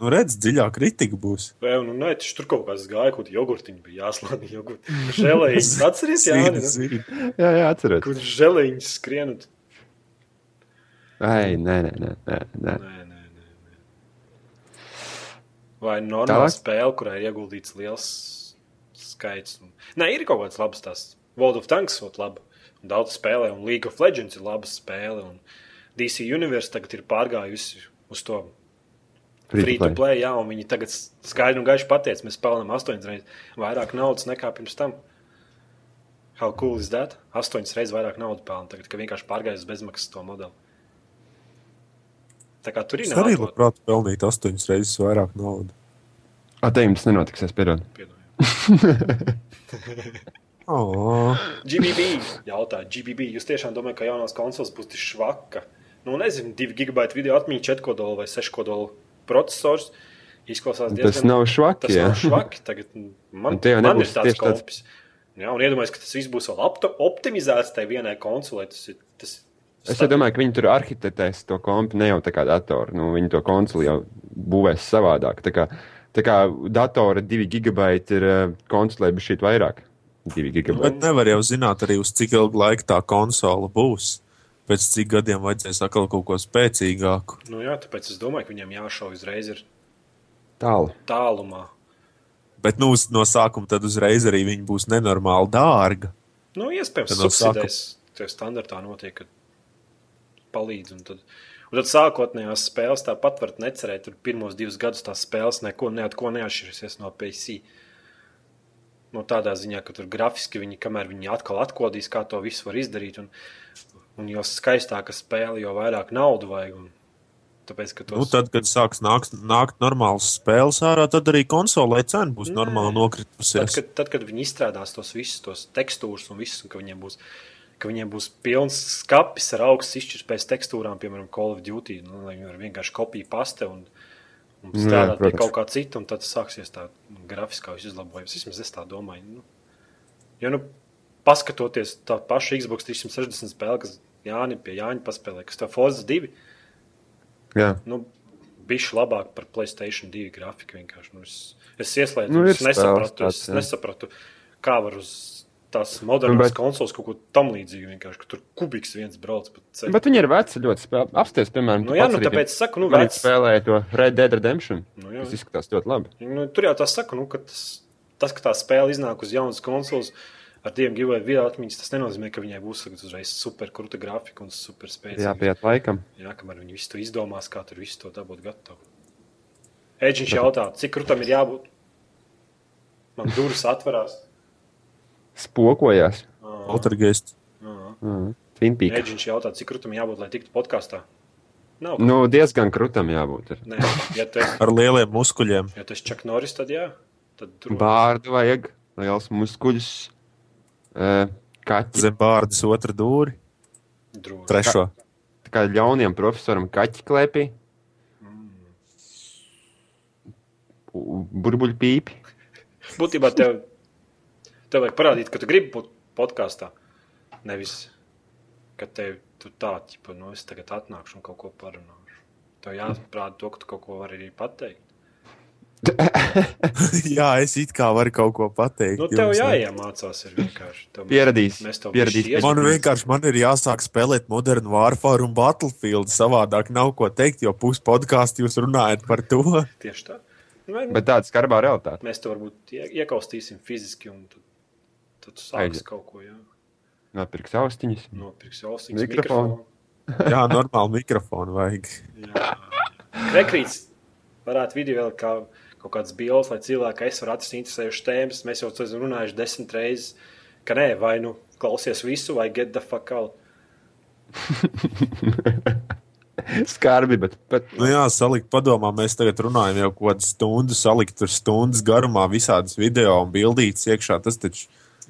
C: Nu, redz, dziļā kritika būs.
B: Vai, nu, nē, taču tur kaut kāds gāja, kur jogurtiņš bija jāslāņa. jogurti. Želējiņš, atceries, jā,
C: Zini,
B: ne?
C: zini.
A: Jā, jā atceros.
B: kur želējiņš skrien. un-
A: Ai, nē, nē, nē, nē, nē.
B: Nē, nē, nē, nē. Vai normāla
A: Tālāk?
B: spēle, kurā ir ieguldīts liels skaits. un- Nē, ir kaut kāds labs tās. World of Tanks ļoti laba. un Daudz spēlē, un League of Legends ir laba spēle. Un DC Universe tagad ir pārgājusi uz to free to play, jā, un viņi tagad skaidri un gaiši pateica, mēs pelnām astoņas reizes vairāk naudas nekā pirms tam. How cool is that? Astoņas reizes vairāk naudas pelnām, tagad, ka vienkārši pārgājis uz bezmaksas to modeli. Tā kā tur ir
C: Es arī
B: nauda.
C: labprāt pelnītu astoņas reizes vairāk naudas.
A: Atējums nenotiks, es pierodu.
C: Oh,
B: GBB jautā, GBB, jūs tiešām domājat, ka jaunās konsoles būs tik švaka? Nu, nezinu, 2 gigabaita video atmiņa, 4 kodola vai 6 kodola processors. Izklausās diezgan.
A: Tas nav švaki,
B: Tas
A: jā.
B: nav švaki. Tagad man,
A: Un te jau
B: man ir
A: nebūs
B: tāds
A: tieši tāds-
B: kompis. Jā, un iedomājieties, ka tas viss būs vēl opto- optimizēts tajā vienai konsolē. Tas ir. Tas,
A: Es jau domāju, ka viņi tur arhitektēs to kompu ne jau tā kā datoru. Nu, viņi to konsoli jau būvēs savādāk. Tā kā, tā kā datora 2 gigabaiti ir eh, konsolē, bet šī vairāk. 2 gigabaiti.
C: bet nevar jau zināt, arī uz cik ilgu laiku tā konsole būs. Pēc cik gadiem vajadzēs atkal kaut ko spēcīgāku.
B: nu, jā, tāpēc es domāju, ka viņiem jāšauj uzreiz ir
A: Tālu.
B: tālumā.
C: Bet nu, uz- no sākuma tad uzreiz arī viņi būs nenormāli dārga.
B: Nu, iespējams,
C: Tad no
B: tas subsidēs. Tie standartā notiek, kad palīdz. Un tad, un tad sākotnējās spēles tāpat var necerēt. Tur pirmos divus gadus tās spēles neko, ne, ko neatšķirsies no PC. No tādā ziņā, ka tur grafiski viņi, kamēr viņi atkal atklās, kā to visu var izdarīt. Un, un jo skaistāka spēle, jo vairāk naudas vajag. Un, tāpēc, ka tos,
C: Nu, tad, kad sāks nākt, nākt normāls spēles ārā, tad arī konsolē cena būs
B: Nē.
C: normāli
B: Tad,
C: nokritusies.
B: kad, tad, kad viņi izstrādās tos visus tos tekstūrus un visus, un ka viņiem būs, ka viņiem būs pilns skats ar augstu izšķirtspējas tekstūrām, piemēram, Call of Duty, nu, lai viņi var vienkārši kopiju paste un, un
A: Nu Jā,
B: strādāt pie
A: protams.
B: kaut kā cita, un tad sāksies tā grafiskā izlabojums. Vismaz es tā domāju. Nu. Jo, nu, paskatoties tā paša Xbox 360 spēle, kas Jāni pie Jāņa paspēlē, kas tā Forza 2,
A: Jā.
B: nu, bišķi labāk par Playstation 2 grafiku. vienkārši. Nu, es, es ieslēdzu,
A: Nu,
B: nu,
A: ir
B: es nesapratu,
A: spēles
B: tāds,
A: tāds,
B: es
A: jā.
B: nesapratu, kā var uz tās modernās
A: Bet-
B: bet... konsoles kaut ko tam līdzīgu. vienkārši, ka Tur kubiks viens brauc pa ceļu.
A: Bet viņi ir veci ļoti spēlēti. Apstāties, piemēram,
B: Nu, jā, nu, tāpēc es saku, nu,
A: Viņi
B: vec.
A: spēlēja to Red Dead Redemption.
B: Nu, jā.
A: Tas izskatās ļoti labi.
B: Nu, tur jau tā saka, nu, ka tas, tas, ka tā spēle iznāk uz jaunas konsoles ar diviem gigabaitu video atmiņas, tas nenozīmē, ka viņai būs tagad uzreiz super krūta grafika un super
A: Jā,
B: spēcīga.
A: pieiet laikam.
B: Jā, kamēr viņi visu to izdomās, kā tur visu to dabūt gatavu. Edžiņš jautā, cik krūtam ir jābūt? Man durvis atverās.
A: Spokojās.
C: Poltergeist.
A: Mm. Twin Peaks.
B: Edžiņš jautā, cik krūtam jābūt, lai tiktu podkāstā? Nav.
A: Nu, diezgan krutam jābūt. ir.
B: Nē, ja tu esi,
C: Ar lieliem muskuļiem.
B: ja tu esi Čak Norris, tad jā. Tad tur
A: Bārdu vajag, liels muskuļus, eh, kaķi.
C: Zem bārdas otra dūri.
B: droši.
C: Trešo.
A: Tā kā ļauniem profesoram kaķi klēpī. U- Burbuļpīpi.
B: Būtībā tev, tev vajag parādīt, ka tu gribi būt podkāstā. Nevis, ka tev tu tā, tipa, nu es tagad atnākšu un kaut ko parunāšu. Tev jāprāt to, ka tu kaut ko vari arī pateikt.
C: Jā, es it kā varu kaut ko pateikt.
B: Nu, tev
C: jums, ne?
B: jāiemācās ir vienkārši. Tev mēs-
A: Pieradīs.
B: Mēs tev
A: Pieradīs.
B: bišķi
C: Man
B: iesmēsim.
C: vienkārši man ir jāsāk spēlēt modernu Warfare un Battlefield. Savādāk nav ko teikt, jo pusi podkāstu jūs runājat par to.
B: Tieši tā. Nu, vai-
A: Bet tāda skarbā realitāte.
B: Mēs to varbūt ie- iekaustīsim fiziski, un tad, tad
A: Aiziet.
B: sāks kaut ko jā.
A: Nopirks austiņas.
B: nopirks ausīs.
A: Mikrofonu.
B: Mikrofonu.
C: Jā, normāli mikrofonu vajag.
B: Rekrīts varētu video vēl kā kaut kāds bildes, lai cilvēki es varētu atrast interesējušas tēmas. Mēs jau to esam runājuši desmit reizes, ka nē, vai nu klausies visu, vai get the fuck out.
A: Skarbi, bet, bet
C: Nu jā, salikt padomā, mēs tagad runājam jau kaut kādu stundu, salikt tur stundas garumā visādas video un bildītas iekšā. Tas taču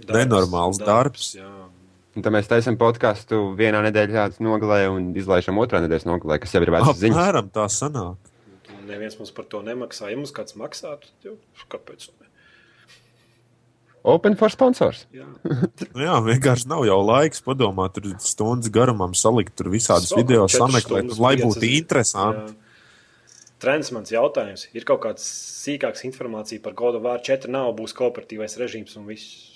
C: nenormāls darbs.
B: jā.
A: Un Tad mēs taisām podkāstu vienā nedēļā nogalē un izlaižam otrā nedēļas nogalē, kas jau ir vērts ziņā.
C: Apmēram tā sanāk.
B: Un neviens mums par to nemaksā. Ja mums kāds maksātu, tad kāpēc? ne?
A: Open for sponsors.
B: Jā.
C: Nu jā, vienkārši nav jau laiks padomāt, tur stundas garumam salikt tur visādas
B: Sokam
C: video,
B: četras
C: sameklēt,
B: stundas,
C: lai
B: piecas.
C: būtu interesanti.
B: Jā. Trends mans jautājums. Ir kaut kāds sīkāks informācija par God of War 4 nav, būs kooperatīvais režīms un viss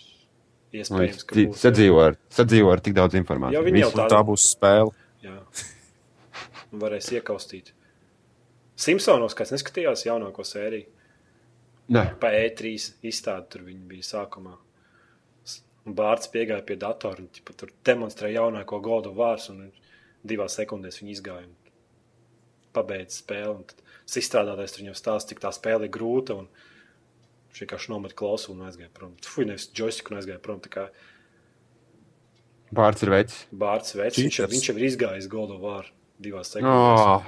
A: Un
B: iespējams, ka
A: ci-
B: būs. jā.
A: Sadzīvo ar, sadzīvo ar tik daudz
B: Jā,
A: informācijas.
B: viņi jau
A: Visu-
B: tā-
C: Un tā būs spēle.
B: Jā. Un Varēs iekaustīt. Simpsonos, kas neskatījās jaunāko sēriju,
A: Nē,
B: pa E3 izstādi tur viņi bija sākumā. S- Un Bārts piegāja pie datora un ķipa, tur demonstrēja jaunāko godu vārdu, un divās sekundēs viņi izgāja un pabeidza spēli. Un tad tas izstrādātājs tur jau stāsta, cik tā spēle ir grūta. Un viņš vienkārši nomet klausu un aizgāja prom. Fui, nevis joystick un aizgāja prom. Tā kā
A: Bārts ir veids.
B: Bārts vecs, viņš, jau-
C: Cheaters.
B: viņš jau ir izgājis godu vārdu divās sekundēs.
A: Oh.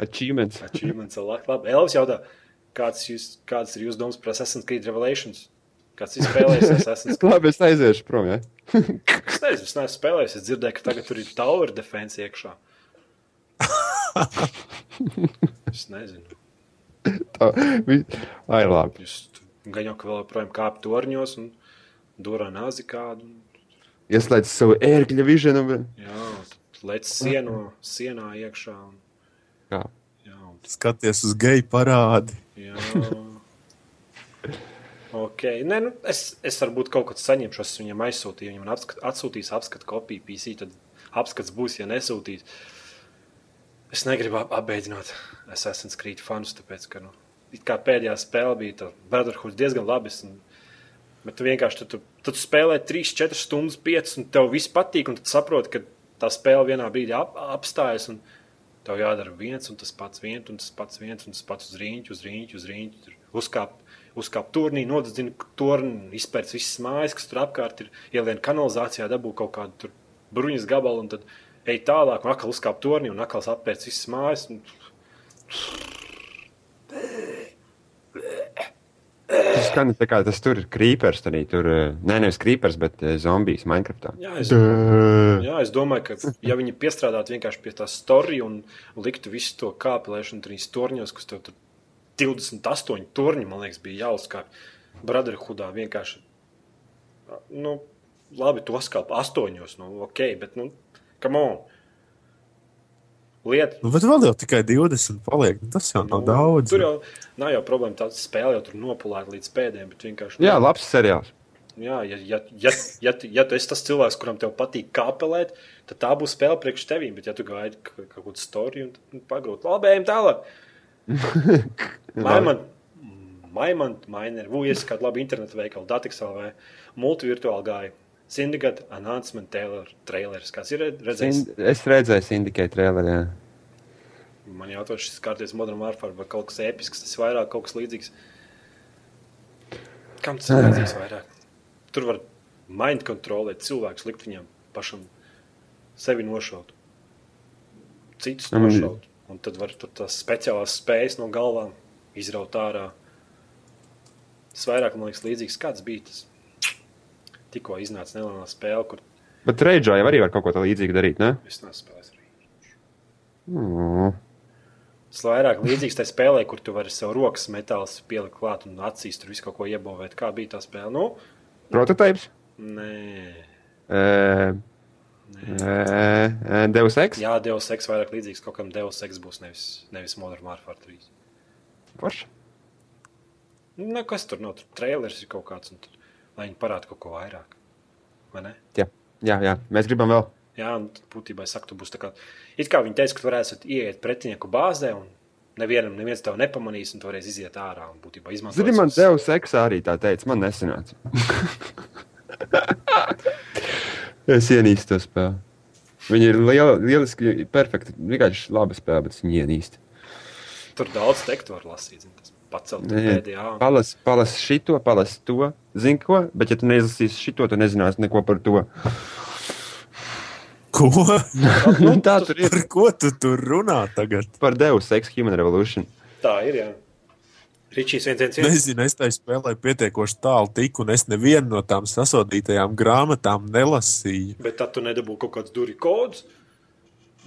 A: Achievements.
B: Achievements a lot. Labi, Elvis jautā, kāds, jūs, kāds ir jūsu domas par Assassin's Creed Revelations? Kāds ir spēlējis Assassin's Creed?
A: Labi, es aiziešu prom. Ja?
B: Es nezinu, es neesmu spēlējis. Es dzirdēju, ka tagad tur ir tower defense iekšā. es nezinu.
A: Tā, vi... Ai, labi.
B: Jūs gaņo, ka vēl joprojām kāpj torņos un dūrā nāzi kādu. un-
A: Ieslēdz savu ērkļa viženu. un-
B: Jā, tad lec sieno, sienā iekšā. Un,
A: Jā.
B: jā, un,
C: Skaties uz geju parādi.
B: jā. Ok, nē, nu, es, es varbūt kaut kad saņemšu, es viņam aizsūtīju, viņam apskat, atsūtīs apskatu kopiju PC, tad apskats būs, ja nesūtīs. Es negribu ap- apbeidzināt Assassin's Creed fanus, tāpēc, ka nu, it kā pēdējā spēle bija tā Brotherhood diezgan labi. Es, un, bet tu vienkārši tad, tu, tad tu spēlē 3, 4 stundas, 5 un tev viss patīk, un tad saproti, ka tā spēle vienā brīdī ap, apstājas. Un, Tev jādara viens un tas pats, viens un tas pats, viens un tas pats uz rīņķa, uz rīņķa, uz rīņķa. tur Uzkāp, uzkāp turnī, nodedzina turni, izpērc visas mājas, kas tur apkārt ir. Ielien kanalizācijā dabū kaut kādu tur bruņas gabalu un tad ej tālāk un atkal uzkāp turnī un atkal apērc visas mājas. Un...
A: Tas skan tā kā tas tur ir krīpers. Tur, tur, eh, nē, nevis krīpers, bet eh, zombijs Minecraftā.
B: Jā, es,
A: Duh.
B: jā, es domāju, ka ja viņi piestrādātu vienkārši pie tā storija un liktu visu to kāpelēšanu trīs torņos, kas tev tur 28 torņi, man liekas, bija jāuzkāpj Brotherhoodā vienkārši. Nu, labi, to skāp astoņos, nu, ok, bet, nu, come on. Lieta,
C: Nu, bet vēl jau tikai 20 paliek. Nu, Tas jau nav daudz.
B: Tur jau nav jau problēma. Tā spēle jau tur nopulēta līdz pēdējiem. bet vienkārši-
A: Jā, labs seriāls.
B: Jā, ja, ja, ja, ja, tu- ja tu esi tas cilvēks, kuram tev patīk kāpelēt, tad tā būs spēle priekš tevīm. Bet, ja tu gaidi ka- kaut kādu storiju, tad nu, pagrūti, labi, ejam tālāk. Maimant, mainer, vujies kādu labu internetu veikalu, datiksā vai multivirtuāli gāja. Syndicate announcement trailer, trailers, kāds ir re- redzējis.
A: Sind- Es redzēju, Syndicate trailerā.
B: Man jautā, šis kārties Modern Warfare vai kaut kas episks, tas vairāk kaut kas līdzīgs. Kam tas ir vajadzīgs vairāk? Tur var mind kontrolēt cilvēkus, likt viņam pašam sevi nošaut. Citus
A: Nu, man-
B: nošaut. Un tad var tur tās speciālās spējas no galvām izraut ārā. Tas vairāk man liekas līdzīgs, kāds bija tas. Tikko iznāca nelielā spēle, kur
A: Bet Reidžā jau arī var kaut ko tādu līdzīgu darīt. Ne?
B: es neesmu spēlējis. arī.
A: Mm.
B: Tas vairāk līdzīgs tai spēlē, kur tu vari sev rokas metālus pielikt klāt un acīs tur visu kaut ko iebūvēt. Kā bija tā spēle? Nu,
A: Prototypes.
B: nē.
A: Eh, eh, eh, Deus Ex.
B: Jā, Deus Ex vairāk līdzīgs kaut kam Deus Ex būs nevis, nevis Modern Warfare 3.
A: Forši.
B: Nu, kas tur nav? Tur trailers ir kaut kāds, un tur, lai viņi parādītu kaut ko vairāk. Vai ne?
A: Jā, jā, jā, mēs gribam vēl.
B: Jā, un tad būtībā es saku, tu būsi tā kā. It kā viņi teica, ka tu varēsi ieiet pretinieku bāzē, un nevienam, neviens tev nepamanīs, un tu varēsi iziet ārā un būtībā izmantot.
A: Zini, man
B: savus-
A: Deus eksā arī tā teica, man nesanāca. es ienīstu to spēli. Viņa ir liela, lieliski, perfekta, vienkārši laba spēle, bet es viņu ienīstu.
B: Tur daudz tekstu var lasīt, zini, tas pacelt
A: Nē,
B: pēdējā.
A: Palas, palas šito, palas to, zini ko, bet ja tu neizlasīsi šito, tu nezināsi neko par to.
C: Ko?
A: nu, tā tur ir
C: Par ko tu tur runā tagad?
A: par Deus ex human revolution.
B: Tā ir, jā. Ričijs viens, viens, viens.
C: Nezinu, es tajā spēlē pietiekoši tālu tiku, un es nevienu no tām sasodītajām grāmatām nelasīju.
B: Bet tad tu nedabūji kaut kāds duri kods.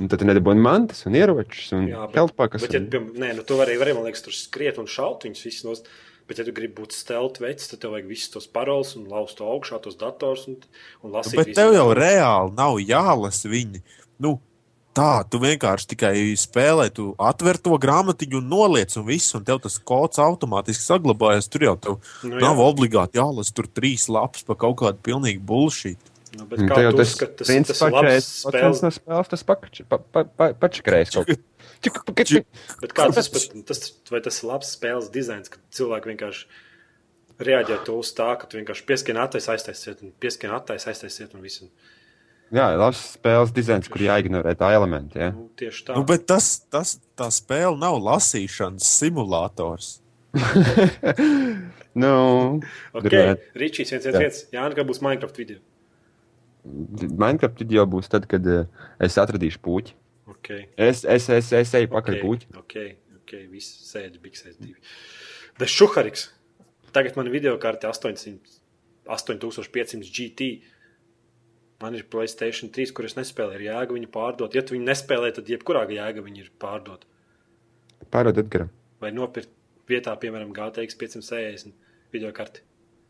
A: Un tad tu nedabūji mantas un ieročus un
B: Bet,
A: telpakas.
B: bet ja,
A: un-
B: piemēram, nē, nu, tu vari, vari, man liekas, tur skriet un šaut viņus visus nost. Bet, ja tu gribi būt stealth veids, tad tev vajag visus tos paroles un lauzt to augšā tos dators un, un lasīt.
C: Bet
B: visu.
C: tev jau reāli nav jālasa viņi. Nu, tā, tu vienkārši tikai spēlē, tu atver to grāmatiņu un noliec, un viss, un tev tas kods automātiski saglabājas. Tur jau tev
B: Nu,
C: nu,
B: jā.
C: nav obligāti jālasa tur trīs lapas par kaut kādu pilnīgi bullshit.
B: Nu, bet
A: Un te
B: kā
A: Mm, jau
B: tu
A: tas
B: uzskati, tas,
A: principā
B: tas ir labs
A: 40%
B: spēles,
A: no spēles, tas pakač- pa- pa- pa- pačakarējis kaut kas.
B: bet kā tas, bet tas, vai tas ir labs spēles dizains, kad cilvēki vienkārši reaģē to uz tā, ka tu vienkārši pieskien attais, aiztaisiet, un pieskien attais, aiztaisiet, un visu.
A: Jā, labs spēles dizains, kur jāignorē tā elementi. Ja?
B: Nu, tieši tā.
C: Nu, bet tas, tas, tā spēle nav lasīšanas simulators.
A: Nu,
B: okay.
A: drē-
B: Ričijs viens, viens, viens. Jā, kā būs Minecraft video.
A: Minecraft video būs tad, kad eh, es atradīšu puķi.
B: Okay.
A: Es, es, es, es eju pakaļ okay. puķi.
B: Ok, ok, viss sēdi, biksēs divi. Bet šuhariks. Tagad man video kārta 800, 8500 GT. Man ir Playstation 3, kur es nespēlēju, ir jēga viņu pārdot. Ja tu viņu nespēlē, tad jebkurā jēga viņu ir pārdot.
A: Pārod Edgara.
B: Vai nopirkt vietā, piemēram, GTX 560 video kārti.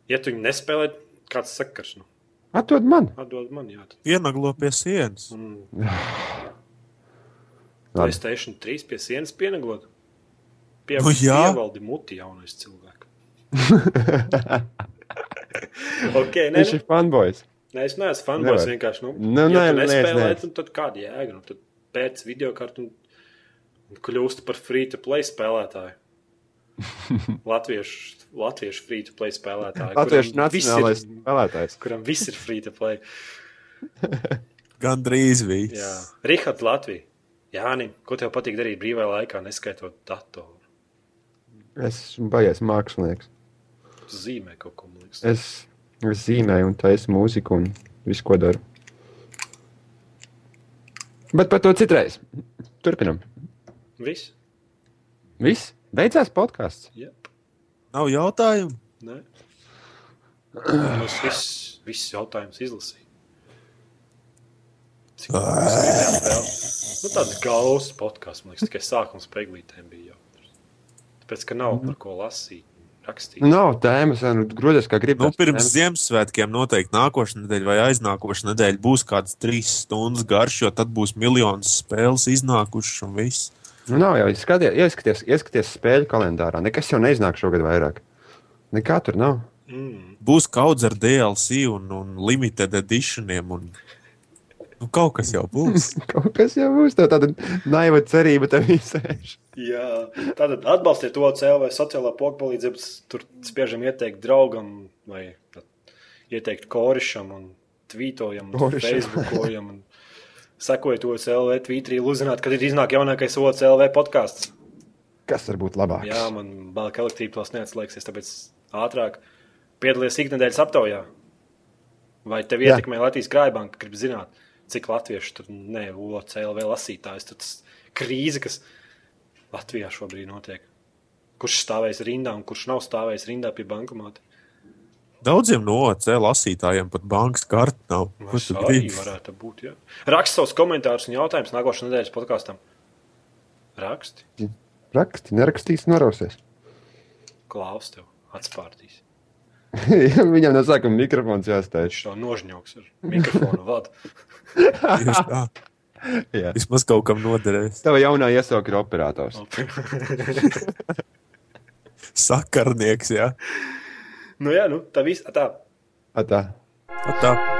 B: Ja tu viņu nespēlē, kāds sakars, nu,
A: Atdod man!
B: atdod man, jā. Tad.
C: Ienaglo pie sienas.
B: Un
A: Labi.
B: Playstation 3 pie sienas pieneglot. Pie,
C: Nu jā.
B: Pievaldi muti jaunais cilvēks. okay, nē,
A: Viņš
B: nu,
A: ir fanboys.
B: nē, es neesmu fanboys.
A: Nevar.
B: Vienkārši, nu,
A: Nu,
B: ja
A: nē,
B: tu
A: nē,
B: nespēlē,
A: nē.
B: nu, tad kāda jēga? Nu, tad pēc video kārtu un, un kļūst par free to play spēlētāju. latviešu, latviešu free to play spēlētāju.
A: Latviešu
B: kuram viss ir-
A: nacionālais spēlētājs.
B: Kuram viss ir free to play.
C: Gan drīz viss.
B: Jā, Rihards Latvija. Jāni, ko tev patīk darīt brīvajā laikā, neskaitot datoru?
A: Es esmu baigais mākslinieks.
B: Zīmē kaut ko, man liekas.
A: Es, es zīmēju un taisu mūziku un visu, ko daru. Bet par to citreiz. Turpinam.
B: Viss?
A: Viss. Beidzās podkāsts.
B: Jā,
C: Nav jautājumu.
B: nē. Mums viss, viss jautājums izlasīja. Cik mums gribējām vēl? Nu, tāds gaus podkāsts, man liekas, tikai sākums pēglītēm bija jau. Tāpēc, ka nav par ko lasīt, rakstīt.
A: Nav tēmas, nu, grozēs kā gribi.
C: Nu, pirms Ziemassvētkiem noteikti nākošais nedēļa vai aiznākošais nedēļa būs kāds trīs stundas garš, jo tad būs miljonus spēles iznākušas un viss.
A: Nu, nav jau skaties, ieskaties, ieskaties spēļu kalendārā. Nekas jau neiznāk šogad vairāk. Nekā tur nav.
B: Mm.
C: Būs kaudz ar DLC un, un limited editioniem. Un... Nu, kaut kas jau būs.
A: Kaut kas jau būs tev tāda naiva cerība, tev izsēž.
B: Jā, tātad atbalstiet to CELV vai sociālā pokpalīdzību. Tur spiežam ieteikt draugam vai tad ieteikt korišam un tvītojam, un
A: Korišam.
B: facebookojam. Un sekojiet to CELV tvītrī, uzzināt, kad ir iznāk jaunākais OCLV podkāsts.
A: Kas var būt labāks?
B: Jā, man balka elektrība tās neatslēgsies, tāpēc ātrāk piedalies ikdienas aptaujā. Vai tev
A: Jā.
B: ietekmē Latvijas krājbanka? Gribu zināt, cik latviešu tur ne OCLV lasītājs, tad tas krīze, kas Latvijā šobrīd notiek. Kurš stāvēs rindā un kurš nav stāvējis rindā pie bankomāta?
C: Daudziem no OC lasītājiem pat bankas kartes nav. Ko
B: Tas
C: tu
B: arī
C: gribi?
B: varētu būt. Jā. Rakst savus komentārus un jautājumus nākošais nedēļas podkāstam. Raksti,
A: Raksti, nerakstīs, norausies.
B: klaus tev, atspārdīs.
A: Viņam no sākuma mikrofons jāstāj.
B: Viņš to nožņoks ar mikrofonu vadu.
C: Tieši tā.
A: Jā.
C: Vismaz kaut kam noderēs.
A: Tava jaunā iesauka ir operators.
B: Labi.
C: Sakarnieks, jā.
B: Nu, jā, nu, tā viss. Tā.
A: Atā.
C: Atā.